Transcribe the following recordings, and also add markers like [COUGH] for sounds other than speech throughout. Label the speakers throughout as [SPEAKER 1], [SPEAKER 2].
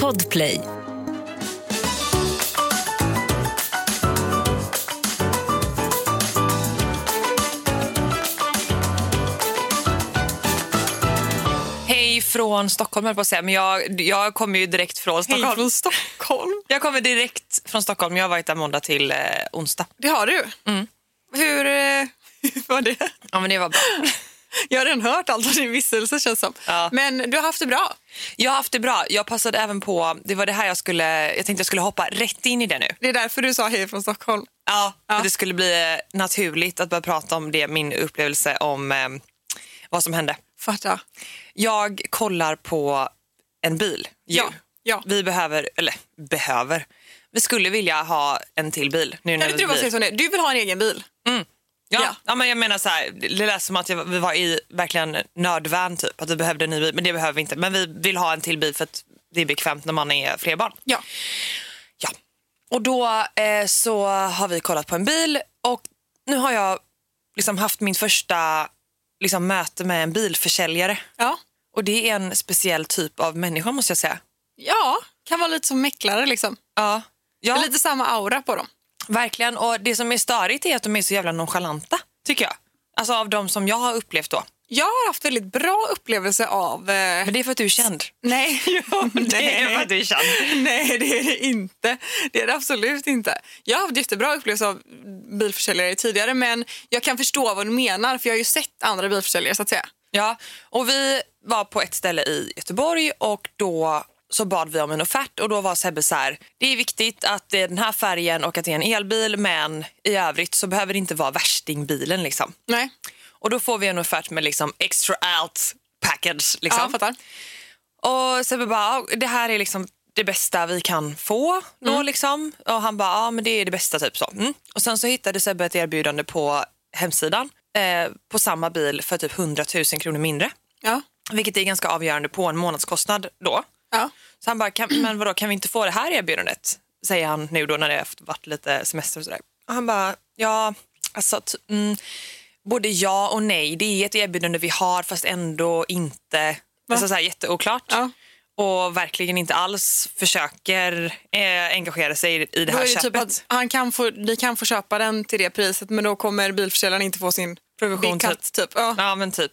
[SPEAKER 1] Podplay.
[SPEAKER 2] Hej från Stockholm höll jag på att säga, men jag, jag kommer ju direkt från Stockholm.
[SPEAKER 3] från Stockholm.
[SPEAKER 2] [LAUGHS] Jag kommer direkt från Stockholm. Jag har varit där måndag till eh, onsdag.
[SPEAKER 3] Det har du.
[SPEAKER 2] Mm.
[SPEAKER 3] Hur, eh, [LAUGHS] hur var det?
[SPEAKER 2] Ja, men det var bra.
[SPEAKER 3] Jag har redan hört allt om din vistelse känns som.
[SPEAKER 2] Ja.
[SPEAKER 3] Men du har haft det bra.
[SPEAKER 2] Jag har haft det bra. Jag passade även på, det var det här jag skulle, jag tänkte jag skulle hoppa rätt in i det nu.
[SPEAKER 3] Det är därför du sa hej från Stockholm.
[SPEAKER 2] Ja, för
[SPEAKER 3] Ja.
[SPEAKER 2] det skulle bli eh, naturligt att börja prata om det, min upplevelse om eh, vad som hände.
[SPEAKER 3] Fatta.
[SPEAKER 2] Jag kollar på en bil. ju.
[SPEAKER 3] Ja, ja.
[SPEAKER 2] Vi behöver, eller behöver, vi skulle vilja ha en till bil. Nu när
[SPEAKER 3] Kan inte du bara
[SPEAKER 2] blir-
[SPEAKER 3] säga som det är? Du vill ha en egen bil.
[SPEAKER 2] Ja, ja.
[SPEAKER 3] Ja.
[SPEAKER 2] men jag menar så här, det lät som att jag, vi var i verkligen nödvärn typ, att vi behövde en ny bil, men det behöver vi inte. Men vi vill ha en till bil för att det är bekvämt när man är fler barn.
[SPEAKER 3] Ja.
[SPEAKER 2] Ja. Och då eh, så har vi kollat på en bil och nu har jag liksom haft min första liksom, möte med en bilförsäljare.
[SPEAKER 3] Ja.
[SPEAKER 2] Och det är en speciell typ av människa måste jag säga.
[SPEAKER 3] Ja, kan vara lite som mäklare liksom.
[SPEAKER 2] Ja,
[SPEAKER 3] Det
[SPEAKER 2] ja
[SPEAKER 3] är Lite samma aura på dem.
[SPEAKER 2] verkligen. Och det som är störigt är att de är så jävla nonchalanta, tycker jag. Alltså av de som jag har upplevt då.
[SPEAKER 3] Jag har haft väldigt bra upplevelse av... Eh,
[SPEAKER 2] [LAUGHS] Men det är för att du är känd.
[SPEAKER 3] [LAUGHS] nej. Jo,
[SPEAKER 2] [LAUGHS] Det är för att du är känd.
[SPEAKER 3] [LAUGHS] Nej, det är det inte. Det är det absolut inte. Jag har haft jättebra upplevelse av bilförsäljare tidigare men jag kan förstå vad du menar för jag har ju sett andra bilförsäljare så att säga.
[SPEAKER 2] Ja, och vi var på ett ställe i Göteborg och då så bad vi om en offert och då var Sebbe så här, det är viktigt att det är den här färgen och att det är en elbil men i övrigt så behöver det inte vara värstingbilen liksom.
[SPEAKER 3] Nej,
[SPEAKER 2] Och då får vi en offert med liksom extra allt package
[SPEAKER 3] ja,
[SPEAKER 2] liksom.
[SPEAKER 3] jag fattar.
[SPEAKER 2] Och Sebbe bara, "Ja, det här är liksom det bästa vi kan få då liksom. Och han bara, ja men det är det bästa typ så. Mm. Och sen så hittade Sebbe ett erbjudande på hemsidan eh, på samma bil för typ 100 000 kronor mindre.
[SPEAKER 3] Ja.
[SPEAKER 2] Vilket är ganska avgörande på en månadskostnad då.
[SPEAKER 3] Ja.
[SPEAKER 2] Så han bara, kan, men vadå, kan vi inte få det här erbjudandet? Säger han nu då när det har varit lite semester och sådär. Och han bara, ja, alltså t- mm, både ja och nej. Det är ett erbjudande vi har fast ändå inte. Alltså så här jätteoklart.
[SPEAKER 3] Ja.
[SPEAKER 2] Och verkligen inte alls försöker eh, engagera sig i- i det
[SPEAKER 3] Då
[SPEAKER 2] här
[SPEAKER 3] är det
[SPEAKER 2] köpet.
[SPEAKER 3] typ att han kan få, ni kan få köpa den till det priset men då kommer bilförsäljaren inte få sin
[SPEAKER 2] Provision,
[SPEAKER 3] bikat,
[SPEAKER 2] typ.
[SPEAKER 3] typ. Ja.
[SPEAKER 2] Ja men typ.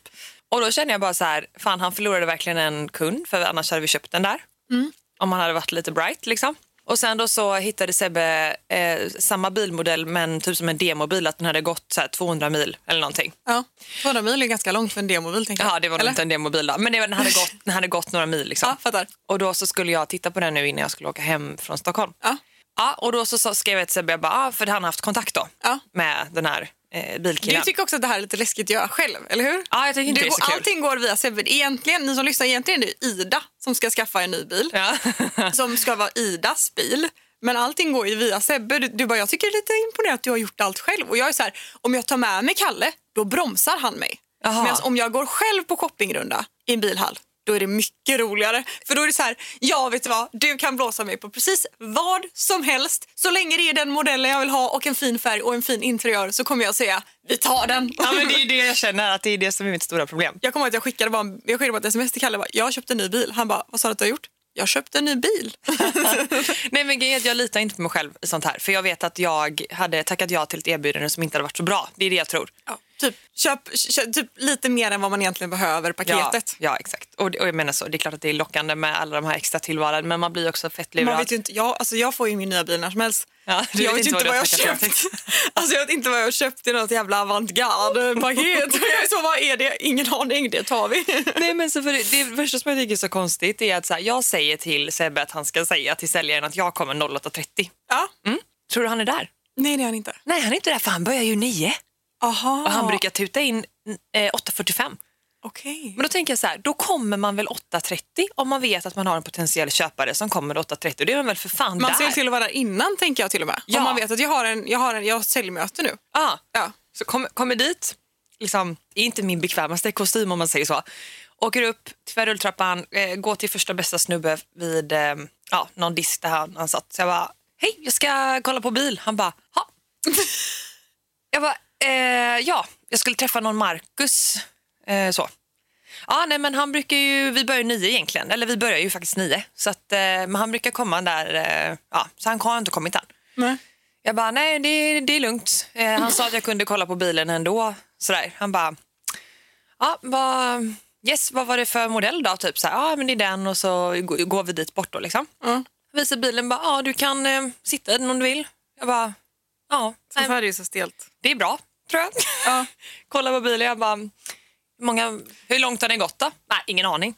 [SPEAKER 2] Och då känner jag bara så här, fan han förlorade verkligen en kund för annars hade vi köpt den där.
[SPEAKER 3] Mm.
[SPEAKER 2] Om han hade varit lite bright liksom. Och sen då så hittade Sebbe eh, samma bilmodell men typ som en demobil att den hade gått så här 200 mil eller någonting.
[SPEAKER 3] Ja. 200 mil är ganska långt för en demobil tänker jag.
[SPEAKER 2] Ja det var nog
[SPEAKER 3] Eller?
[SPEAKER 2] inte en demobil då men det var, den, hade gått, den hade gått några mil liksom.
[SPEAKER 3] Ja, fattar.
[SPEAKER 2] Och då så skulle jag titta på den nu innan jag skulle åka hem från Stockholm.
[SPEAKER 3] Ja.
[SPEAKER 2] Ja, och då så, så skrev jag till Sebbe, jag bara, ah, för han har haft kontakt då
[SPEAKER 3] Ja.
[SPEAKER 2] med den här eh,
[SPEAKER 3] Du
[SPEAKER 2] bilkillen.
[SPEAKER 3] tycker också att det här är lite läskigt att göra själv, eller hur?
[SPEAKER 2] Ja, jag tycker inte det
[SPEAKER 3] du,
[SPEAKER 2] är så
[SPEAKER 3] går-
[SPEAKER 2] kul.
[SPEAKER 3] Allting går via Sebbe. Egentligen, ni som lyssnar, egentligen är det Ida som ska skaffa en ny bil.
[SPEAKER 2] Ja.
[SPEAKER 3] [LAUGHS] som ska vara Idas bil. Men allting går ju via Sebbe. Du, du bara, jag tycker det är lite imponerande att du har gjort allt själv. Och jag är så här, om jag tar med mig Kalle, då bromsar han mig.
[SPEAKER 2] Jaha.
[SPEAKER 3] Medan om jag går själv på shoppingrunda i en bilhall, då är det mycket roligare. För då är det så här, ja vet du vad, du kan blåsa mig på precis vad som helst. Så länge det är den modellen jag vill ha och en fin färg och en fin interiör så kommer jag säga, vi tar den.
[SPEAKER 2] Ja, men det är det jag känner, att det är det som är mitt stora problem.
[SPEAKER 3] [LAUGHS] Jag kommer ihåg att jag skickade, bara, en- jag skickade bara ett sms till Kalle. Bara, jag har köpt en ny bil. Han bara, vad sa du att du har gjort? Jag köpte en ny bil. [LAUGHS]
[SPEAKER 2] Nej men grejen är att jag litar inte på mig själv i sånt här. För jag vet att jag hade tackat ja till ett erbjudande som inte hade varit så bra. Det är det jag tror.
[SPEAKER 3] Ja, typ, köp, kö- typ lite mer än vad man egentligen behöver
[SPEAKER 2] Ja,
[SPEAKER 3] paketet.
[SPEAKER 2] ja exakt. Och, det- och jag menar så, det är klart att det är lockande med alla de här extra tillvalen men man blir också fett
[SPEAKER 3] Man
[SPEAKER 2] lurad.
[SPEAKER 3] vet ju inte, jag, alltså jag får ju min nya bil när som helst.
[SPEAKER 2] Ja, du
[SPEAKER 3] jag
[SPEAKER 2] vet
[SPEAKER 3] vet
[SPEAKER 2] inte
[SPEAKER 3] ju inte
[SPEAKER 2] vad
[SPEAKER 3] vad
[SPEAKER 2] du
[SPEAKER 3] jag har
[SPEAKER 2] har
[SPEAKER 3] köpt. [LAUGHS]
[SPEAKER 2] packat.
[SPEAKER 3] Alltså jag vet inte vad jag har köpt i något
[SPEAKER 2] [LAUGHS]
[SPEAKER 3] jävla avantgarde-paket. jag är så, vad är det? Ingen aning, det tar vi. [LAUGHS]
[SPEAKER 2] Nej, men så för det, det första som jag tycker är så konstigt är att så här, jag säger till Sebbe att han ska säga till säljaren att jag kommer 08.30.
[SPEAKER 3] ja.
[SPEAKER 2] Mm. Tror du han är där?
[SPEAKER 3] Nej, det är han inte.
[SPEAKER 2] Nej han är inte där för han börjar ju 9
[SPEAKER 3] Aha.
[SPEAKER 2] och han brukar tuta in eh, 8.45.
[SPEAKER 3] Okej.
[SPEAKER 2] Men då tänker jag så här, då kommer man väl 8.30 om man vet att man har en potentiell köpare som kommer 8.30. Det är man väl för fan
[SPEAKER 3] Man
[SPEAKER 2] där.
[SPEAKER 3] ser till att vara där innan, tänker jag till och med.
[SPEAKER 2] Ja.
[SPEAKER 3] Om man vet att jag har, en, jag har, en, jag har ett säljmöte nu.
[SPEAKER 2] Ja.
[SPEAKER 3] Ja.
[SPEAKER 2] Ah, Så kom, kommer dit, liksom, det är inte min bekvämaste kostym om man säger så. Åker upp till rulltrappan, eh, går till första bästa snubbe vid eh, ja, någon disk där han, han satt. Så jag bara, hej jag ska kolla på bil. Han bara, ha. [LAUGHS] jag bara, eh, ja, jag skulle träffa någon Marcus. Eh, så. Ja, nej, men han brukar ju, vi börjar ju nio egentligen, eller vi börjar ju faktiskt nio. Så att, eh, men han brukar komma där, eh, ja, så han har inte kommit än.
[SPEAKER 3] Nej.
[SPEAKER 2] Jag bara, nej det, det är lugnt. Eh, han sa att jag kunde kolla på bilen ändå. Sådär. Han bara, ja, vad, yes, vad var det för modell då? Typ så här, ja men det är den och så g- går vi dit bort då liksom.
[SPEAKER 3] Mm.
[SPEAKER 2] Visar bilen, bara, ja du kan eh, sitta i den om du vill. Jag bara, ja, nej,
[SPEAKER 3] här är ju så stelt.
[SPEAKER 2] det är bra tror jag.
[SPEAKER 3] Ja.
[SPEAKER 2] [LAUGHS] Kolla på bilen, jag bara, hur många, hur långt har den gått då? Nej, ingen aning.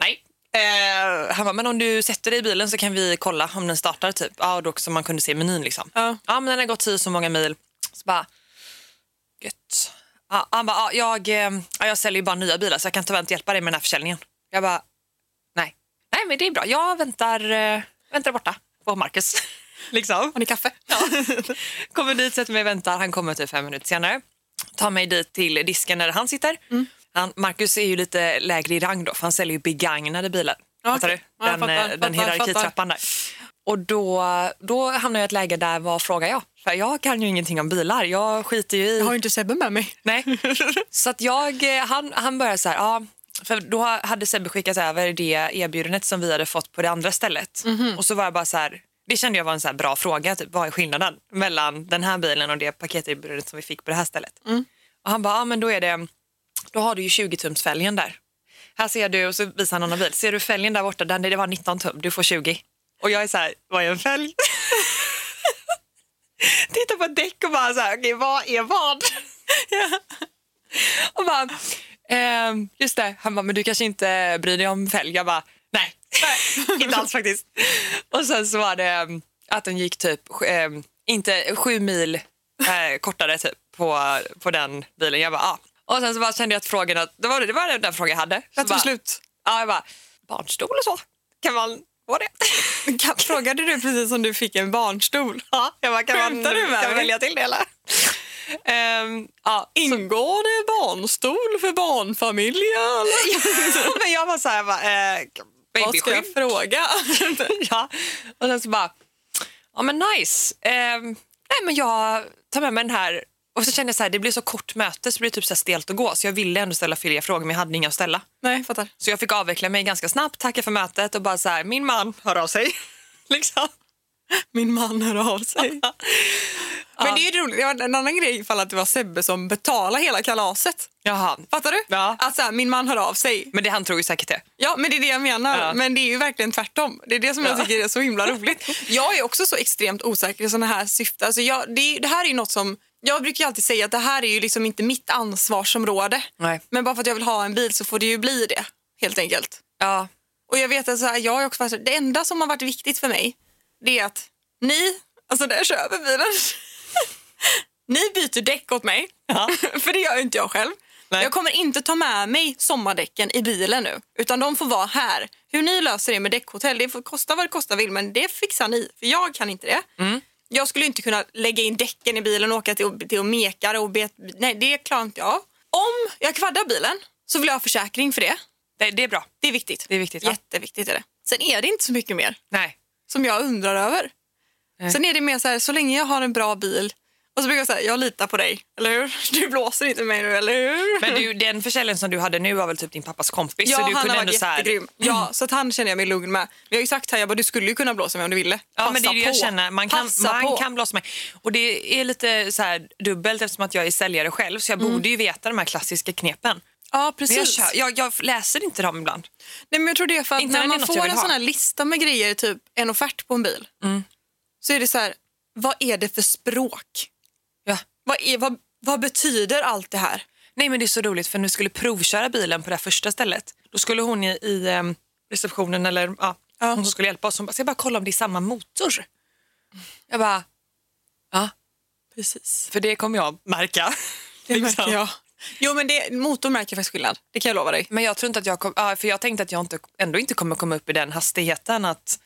[SPEAKER 2] Nej. Eh, han bara, men om du sätter dig i bilen så kan vi kolla om den startar typ. Ja, och då också man kunde se menyn liksom.
[SPEAKER 3] Ja.
[SPEAKER 2] men den har gått tio så många mil. Så bara, gött. Ja, han bara, ja, jag, eh, ja, jag säljer ju bara nya bilar så jag kan tyvärr inte hjälpa dig med den här försäljningen. Jag bara, nej. Nej, men det är bra. Jag väntar, eh, väntar borta på Marcus. [LAUGHS] liksom.
[SPEAKER 3] Har ni kaffe?
[SPEAKER 2] [LAUGHS] Kommer dit, sätter mig och väntar. Han kommer typ fem minuter senare. Tar mig dit till disken där han sitter.
[SPEAKER 3] Mm.
[SPEAKER 2] Han, Marcus är ju lite lägre i rang då, för han säljer ju begagnade bilar.
[SPEAKER 3] Ja,
[SPEAKER 2] Fattar du?
[SPEAKER 3] okej. Ja, jag
[SPEAKER 2] Den,
[SPEAKER 3] fattar,
[SPEAKER 2] eh,
[SPEAKER 3] fattar,
[SPEAKER 2] den hierarkitrappan där. Och då, då hamnar jag i ett läge där, vad frågar jag? För jag kan ju ingenting om bilar. Jag skiter ju i...
[SPEAKER 3] Jag har ju inte Sebbe med mig.
[SPEAKER 2] Nej. [LAUGHS] Så att jag, eh, han, han började så här, ja, för då hade Sebbe skickat över det erbjudandet som vi hade fått på det andra stället. Och så var jag bara så här, det kände jag var en så här bra fråga, typ, vad är skillnaden mellan den här bilen och det paketerbjudandet som vi fick på det här stället? Och han bara, ja men då är det, då har du ju 20 tums fälgen där. Här ser du, och så visar han en annan bil, ser du fälgen där borta, den, det var 19 tum, du får 20. Och jag är så här, vad är en fälg? [LAUGHS] Tittar på däck och bara så här, okej vad är vad? [LAUGHS] Och bara, ehm, just det. Han bara, men du kanske inte bryr dig om fälg? Jag bara, nej, [LAUGHS] inte alls faktiskt. Och sen så var det ehm, att den gick typ, ehm, inte sju mil eh, kortare typ på, på den bilen. Jag bara, ah. Och sen så bara kände jag att frågan, att, det var det var den frågan jag hade. Så
[SPEAKER 3] Rätt
[SPEAKER 2] bara,
[SPEAKER 3] beslut.
[SPEAKER 2] Ja, jag bara, barnstol och så, kan man få det?
[SPEAKER 3] Kan- Frågade du precis om du fick en barnstol?
[SPEAKER 2] ja, jag bara, kan man,
[SPEAKER 3] Skämtar du med
[SPEAKER 2] kan man
[SPEAKER 3] mig?
[SPEAKER 2] välja till det eller? Ehm, [LAUGHS] ja, så-
[SPEAKER 3] Ingår det barnstol
[SPEAKER 2] [LAUGHS]
[SPEAKER 3] för barnfamiljer? eller?
[SPEAKER 2] men jag var så här, jag bara, eh,
[SPEAKER 3] Vad ska jag
[SPEAKER 2] babyskydd.
[SPEAKER 3] fråga? [LAUGHS]
[SPEAKER 2] [LAUGHS] ja. Och sen så bara, ja men nice. Ehm, nej men jag tar med mig den här. Och så kände jag så här, det blir så kort möte så det blir typ så här stelt att gå. Så jag ville ändå ställa fler frågor men jag hade inga att ställa.
[SPEAKER 3] Nej, fattar.
[SPEAKER 2] Så jag fick avveckla mig ganska snabbt, tacka för mötet och bara så här, min man hör av sig. liksom.
[SPEAKER 3] Min man hör av [LAUGHS] sig. Men det är ju roligt. Det var en annan grej ifall att det var Sebbe som betalade hela kalaset.
[SPEAKER 2] Jaha.
[SPEAKER 3] Fattar du?
[SPEAKER 2] Ja.
[SPEAKER 3] Att så här, min man hör av sig.
[SPEAKER 2] Men det han tror ju säkert det.
[SPEAKER 3] Ja, men det är det jag menar.
[SPEAKER 2] Ja.
[SPEAKER 3] Men det är ju verkligen tvärtom. Det är det som jag tycker är så [LAUGHS] himla roligt. Jag är också så extremt osäker i sådana här syften. Alltså jag, det, är- det här är ju något som... Jag brukar ju alltid säga att det här är ju liksom inte mitt ansvarsområde.
[SPEAKER 2] Nej.
[SPEAKER 3] Men bara för att jag vill ha en bil så får det ju bli det, helt enkelt.
[SPEAKER 2] Ja.
[SPEAKER 3] Och jag vet att så här, jag har också varit, det enda som har varit viktigt för mig det är att ni, alltså där kör över bilen. [LAUGHS] ni byter däck åt mig, [LAUGHS]
[SPEAKER 2] Ja.
[SPEAKER 3] för det gör ju inte jag själv.
[SPEAKER 2] Nej.
[SPEAKER 3] Jag kommer inte ta med mig sommardäcken i bilen nu, utan de får vara här. Hur ni löser det med däckhotell, det får kosta vad det kosta vill, men det fixar ni, för jag kan inte det.
[SPEAKER 2] Mm.
[SPEAKER 3] Jag skulle inte kunna lägga in däcken i bilen och åka till, till och mekare och bet, nej det klarar inte jag av. Om jag kvaddar bilen så vill jag ha försäkring för det.
[SPEAKER 2] Det, det är bra.
[SPEAKER 3] Det är viktigt.
[SPEAKER 2] [LAUGHS] Det är viktigt, va?
[SPEAKER 3] Jätteviktigt är det. Sen är det inte så mycket mer
[SPEAKER 2] Nej.
[SPEAKER 3] som jag undrar över.
[SPEAKER 2] Nej.
[SPEAKER 3] Sen är det mer så här, så länge jag har en bra bil och så brukar jag säga, jag litar på dig, eller hur? [LAUGHS] Du blåser inte mig nu, eller hur?
[SPEAKER 2] Men du, den försäljningen som du hade nu var väl typ din pappas kompis? så
[SPEAKER 3] ja,
[SPEAKER 2] du
[SPEAKER 3] han
[SPEAKER 2] kunde
[SPEAKER 3] har
[SPEAKER 2] ändå
[SPEAKER 3] varit
[SPEAKER 2] så här, [CLEARS THROAT]
[SPEAKER 3] jättegrym. Ja, så att han känner jag mig lugn med. Men jag har ju sagt här, jag bara, du skulle ju kunna blåsa mig om du ville.
[SPEAKER 2] Ja, men det är det jag
[SPEAKER 3] på.
[SPEAKER 2] känner. Man kan,
[SPEAKER 3] Passa
[SPEAKER 2] man
[SPEAKER 3] på.
[SPEAKER 2] kan blåsa mig. Och det är lite så här dubbelt eftersom att jag är säljare själv så jag borde ju veta de här klassiska knepen.
[SPEAKER 3] Ja,
[SPEAKER 2] Men jag,
[SPEAKER 3] precis.
[SPEAKER 2] kör, jag, jag läser inte dem ibland.
[SPEAKER 3] Nej, men jag tror det är för att
[SPEAKER 2] Inte när
[SPEAKER 3] när
[SPEAKER 2] det är
[SPEAKER 3] man
[SPEAKER 2] något jag
[SPEAKER 3] får
[SPEAKER 2] vill
[SPEAKER 3] en
[SPEAKER 2] ha. Mm.
[SPEAKER 3] sån här lista med grejer, typ en offert på en bil, så är det så här, vad är det för språk?
[SPEAKER 2] Ja.
[SPEAKER 3] Vad, är, vad, vad betyder allt det här?
[SPEAKER 2] Nej men det är så roligt för när vi skulle provköra bilen på det här första stället då skulle hon i, i ehm, receptionen eller ja,
[SPEAKER 3] Ja.
[SPEAKER 2] hon som skulle hjälpa oss hon bara, ska jag bara kolla om det är samma motor? Jag bara, ja
[SPEAKER 3] Precis.
[SPEAKER 2] för det kommer jag märka.
[SPEAKER 3] Det
[SPEAKER 2] Liksom.
[SPEAKER 3] märker jag. Jo, men det, motorn märker faktiskt skillnad. Det kan jag lova dig.
[SPEAKER 2] Men jag tror inte att jag kom, ja, för jag tänkte att jag inte, ändå inte kommer komma upp i den hastigheten att,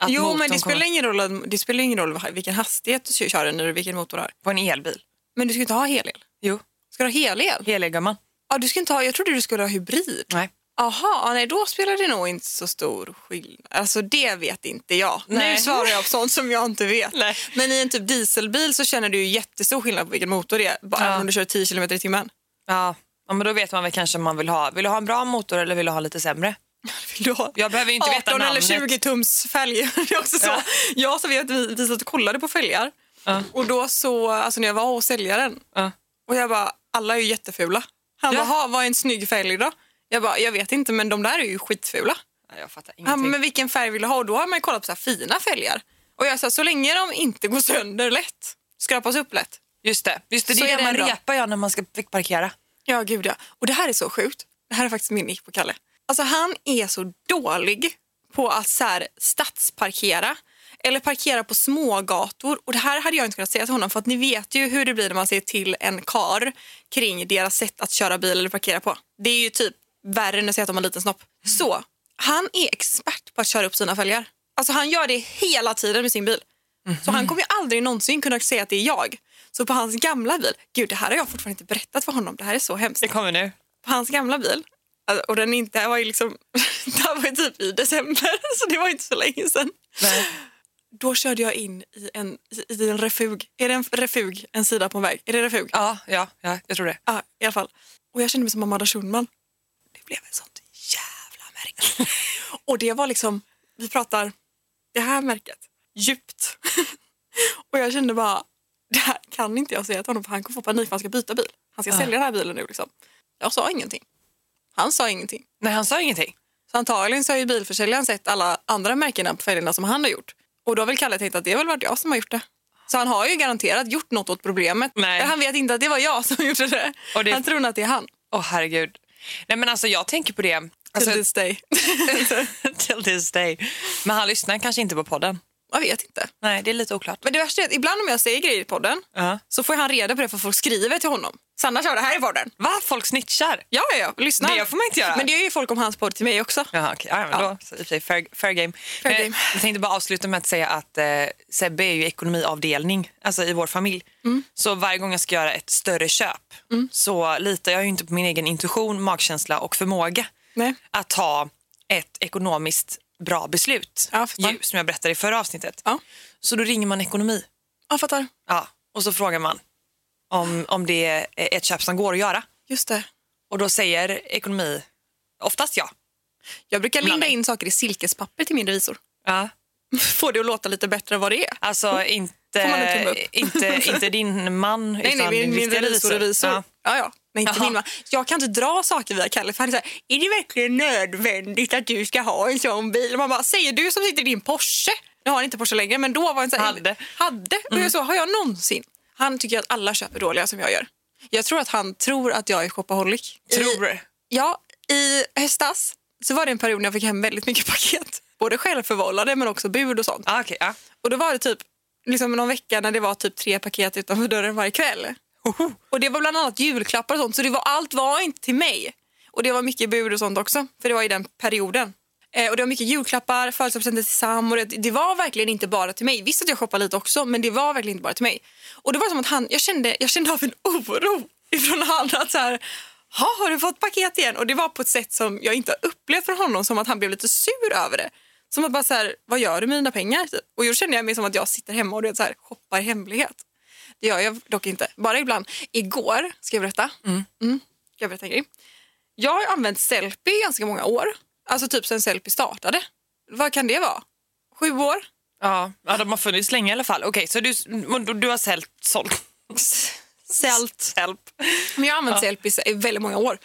[SPEAKER 2] att
[SPEAKER 3] Jo, men
[SPEAKER 2] motorn
[SPEAKER 3] det
[SPEAKER 2] kommer-
[SPEAKER 3] spelar, ingen roll, det spelar ingen roll vilken hastighet du kör- kör den eller vilken motor du har.
[SPEAKER 2] på en elbil.
[SPEAKER 3] Men du ska inte ha helel.
[SPEAKER 2] Jo,
[SPEAKER 3] Ska du ha helel?
[SPEAKER 2] heliga gumman.
[SPEAKER 3] Ja, du ska inte ha, jag trodde du skulle ha hybrid.
[SPEAKER 2] Nej.
[SPEAKER 3] Aha, ja, nej då spelar det nog inte så stor skillnad. Alltså det vet inte jag.
[SPEAKER 2] Nej.
[SPEAKER 3] Nu svarar jag på sånt som jag inte vet.
[SPEAKER 2] Nej.
[SPEAKER 3] Men i en typ dieselbil så känner du ju jättestor skillnad på vilken motor det är, bara
[SPEAKER 2] Ja.
[SPEAKER 3] även om du kör 10 km i timmen.
[SPEAKER 2] Ja, Ja, men då vet man väl kanske om man vill ha. Vill du ha en bra motor eller vill du ha lite sämre?
[SPEAKER 3] Vill du ha
[SPEAKER 2] Jag behöver ju inte
[SPEAKER 3] 18
[SPEAKER 2] veta
[SPEAKER 3] eller
[SPEAKER 2] namnet.
[SPEAKER 3] 20 tums fälg. [LAUGHS] Det är också så.
[SPEAKER 2] Ja.
[SPEAKER 3] Jag som vet vi, vi satt och kollade på fälgar
[SPEAKER 2] Ja.
[SPEAKER 3] och då så, alltså när jag var hos säljaren
[SPEAKER 2] Ja.
[SPEAKER 3] och jag bara, alla är ju jättefula. Han
[SPEAKER 2] Ja.
[SPEAKER 3] bara, "Ha, vad är en snygg fälg då? Jag bara, jag vet inte men de där är ju skitfula.
[SPEAKER 2] Nej, Jag fattar
[SPEAKER 3] Han bara,
[SPEAKER 2] ingenting.
[SPEAKER 3] men vilken färg vill du ha? Och då har man ju kollat på så här fina fälgar. Och jag sa, så länge de inte går sönder lätt, skrapas upp lätt.
[SPEAKER 2] Just det, Just det,
[SPEAKER 3] Så
[SPEAKER 2] det
[SPEAKER 3] är
[SPEAKER 2] är det
[SPEAKER 3] den
[SPEAKER 2] man
[SPEAKER 3] bra.
[SPEAKER 2] repar ja, när man ska parkera.
[SPEAKER 3] Ja, gud ja. Och det här är så sjukt. Det här är faktiskt min nick på Kalle. Alltså han är så dålig på att så här, stadsparkera eller parkera på smågator. Och det här hade jag inte kunnat säga till honom för att ni vet ju hur det blir när man säger till en kar kring deras sätt att köra bil eller parkera på. Det är ju typ värre än att säga att de har en liten snopp. Så, han är expert på att köra upp sina fälgar. Alltså han gör det hela tiden med sin bil. Så han kommer ju aldrig någonsin kunna säga att det är jag. Så på hans gamla bil, gud det här har jag fortfarande inte berättat för honom, det här är så hemskt.
[SPEAKER 2] kommer nu.
[SPEAKER 3] På hans gamla bil, alltså, och den inte, det här var ju liksom, [LAUGHS] det här var ju typ i december, [LAUGHS] så det var inte så länge sedan.
[SPEAKER 2] Nej.
[SPEAKER 3] Då körde jag in i en, i- i en refug, är det en refug, en sida på en väg? Är det refug? Ja,
[SPEAKER 2] Ja, ja, ja, jag tror det.
[SPEAKER 3] i alla fall. Och jag kände mig som Amanda Schulman. Det blev ett sånt jävla märke. och det var liksom, vi pratar det här märket djupt. [LAUGHS] och jag kände bara, det här kan inte jag säga till honom för han kommer få panik för han ska byta bil. Han ska sälja den här bilen nu liksom. Jag sa ingenting. Han sa ingenting.
[SPEAKER 2] Nej, han sa ingenting.
[SPEAKER 3] Så antagligen så har ju bilförsäljaren sett alla andra märkena på fälgarna som han har gjort. Och då har väl Kalle tänkt att det har väl varit jag som har gjort det. Så han har ju garanterat gjort något åt problemet.
[SPEAKER 2] Nej.
[SPEAKER 3] Han vet inte att det var jag som [LAUGHS] gjorde det.
[SPEAKER 2] Och det-
[SPEAKER 3] Han tror nog att det är han.
[SPEAKER 2] Åh herregud. Nej men alltså jag tänker på det.
[SPEAKER 3] Alltså...
[SPEAKER 2] Alltså,
[SPEAKER 3] Till this [LAUGHS] day.
[SPEAKER 2] [LAUGHS] till this day. Men han lyssnar kanske inte på podden.
[SPEAKER 3] jag vet inte.
[SPEAKER 2] Nej, det är lite oklart.
[SPEAKER 3] Men det värsta är att ibland om jag säger grejer i podden
[SPEAKER 2] Ja.
[SPEAKER 3] så får han reda på det för folk skriver till honom. Sanna sa det här i podden.
[SPEAKER 2] Va? Folk snitchar?
[SPEAKER 3] Ja, ja, ja. Lyssna.
[SPEAKER 2] Det får man inte göra.
[SPEAKER 3] Men det gör ju folk om hans podd till mig också.
[SPEAKER 2] Jaha, okej. Ja, men
[SPEAKER 3] Ja.
[SPEAKER 2] då, så i och för sig, fair, fair game.
[SPEAKER 3] Fair game.
[SPEAKER 2] Jag tänkte bara avsluta med att säga att eh, Sebbe är ju ekonomiavdelning alltså i vår familj.
[SPEAKER 3] Mm.
[SPEAKER 2] Så varje gång jag ska göra ett större köp så litar jag ju inte på min egen intuition, magkänsla och förmåga
[SPEAKER 3] Nej.
[SPEAKER 2] att ta ett ekonomiskt bra beslut.
[SPEAKER 3] Ja, fattar.
[SPEAKER 2] ju, som jag berättade i förra avsnittet.
[SPEAKER 3] Ja.
[SPEAKER 2] Så då ringer man ekonomi
[SPEAKER 3] Jag fattar.
[SPEAKER 2] ja, och så frågar man om, om det är ett köp som går att göra.
[SPEAKER 3] Just det.
[SPEAKER 2] Och då säger ekonomi oftast ja.
[SPEAKER 3] Jag brukar
[SPEAKER 2] Blandning.
[SPEAKER 3] linda in saker i silkespapper till min revisor. [LAUGHS]
[SPEAKER 2] ja.
[SPEAKER 3] Får det att låta lite bättre än vad det är.
[SPEAKER 2] Alltså inte,
[SPEAKER 3] Mm. Får man en tumme upp?
[SPEAKER 2] inte,
[SPEAKER 3] [LAUGHS]
[SPEAKER 2] inte din man
[SPEAKER 3] Nej, nej,
[SPEAKER 2] utan
[SPEAKER 3] min,
[SPEAKER 2] din
[SPEAKER 3] min
[SPEAKER 2] riktiga
[SPEAKER 3] revisor. revisor.
[SPEAKER 2] Ja.
[SPEAKER 3] Ja. Ja, Nej, inte
[SPEAKER 2] Jaha.
[SPEAKER 3] min man. Jag kan inte dra saker via Kalle för han är så här, är det verkligen nödvändigt att du ska ha en sån bil? Och man bara, säger du som sitter i din Porsche? Nu har han inte Porsche längre men då var han så här,
[SPEAKER 2] Hade. Mm.
[SPEAKER 3] Hade? Och jag så, har jag någonsin? Han tycker att alla köper dåliga som jag gör. Jag tror att han tror att jag är shopaholic.
[SPEAKER 2] Tror.
[SPEAKER 3] Ja, i höstas så var det en period när jag fick hem väldigt mycket [LAUGHS] paket. Både självförvållade men också bud och sånt.
[SPEAKER 2] Ah, okej, ja.
[SPEAKER 3] Och då var det typ liksom någon vecka när det var typ tre paket utanför dörren varje kväll. Och det var bland annat julklappar och sånt, så det var, allt var inte till mig. Och det var mycket bud och sånt också, för det var i den perioden. Eh, och det var mycket julklappar, födelsedagspresenter till Sam och det, det var verkligen inte bara till mig. Visst att jag shoppade lite också, men det var verkligen inte bara till mig. Och det var som att han, jag kände, jag kände av en oro ifrån han att så här, "Ha, har du fått paket igen? Och det var på ett sätt som jag inte har upplevt från honom, som att han blev lite sur över det. Som att bara så här, vad gör du med dina pengar? Typ. Och då kände jag mig som att jag sitter hemma och du vet, så här, shoppar i hemlighet. Det gör jag dock inte, bara ibland. Igår, ska jag berätta? Mm. Ska jag berätta en grej? Jag har ju använt Sellpy i ganska många år. Alltså typ sen Sellpy startade. Vad kan det vara? Sju år?
[SPEAKER 2] Ja. ja, de har funnits länge i alla fall. Okej, så du, men du- du har säljt, sålt?
[SPEAKER 3] [LAUGHS] Sält.
[SPEAKER 2] Hjälp.
[SPEAKER 3] Men jag har använt Sellpy i väldigt många år.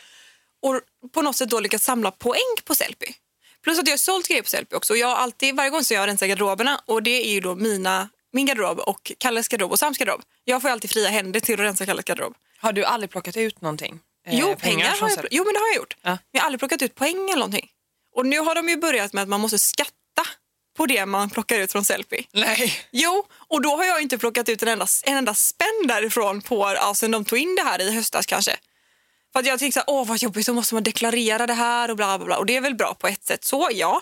[SPEAKER 3] Och på något sätt då lyckats samla poäng på Sellpy. Plus att jag har sålt grejer på Sellpy också. Och jag har alltid, varje gång så jag rensar garderoberna och det är ju då mina, min garderob och Kalles garderob och Sams garderob. Jag får ju alltid fria händer till att rensa Kalles garderob.
[SPEAKER 2] Har du aldrig plockat ut någonting? Eh,
[SPEAKER 3] Jo, pengar,
[SPEAKER 2] från
[SPEAKER 3] har jag,
[SPEAKER 2] Sebbe?
[SPEAKER 3] jo, men det har jag gjort.
[SPEAKER 2] Ja.
[SPEAKER 3] Men jag har aldrig plockat ut poäng eller någonting. Och nu har de ju börjat med att man måste skatta på det man plockar ut från Sellpy.
[SPEAKER 2] Nej.
[SPEAKER 3] Jo, och då har jag inte plockat ut en enda, en enda spänn därifrån på ja, sen de tog in det här i höstas kanske. För att jag tänkte så här, åh vad jobbigt, då måste man deklarera det här och bla bla bla. Och det är väl bra på ett sätt, så ja.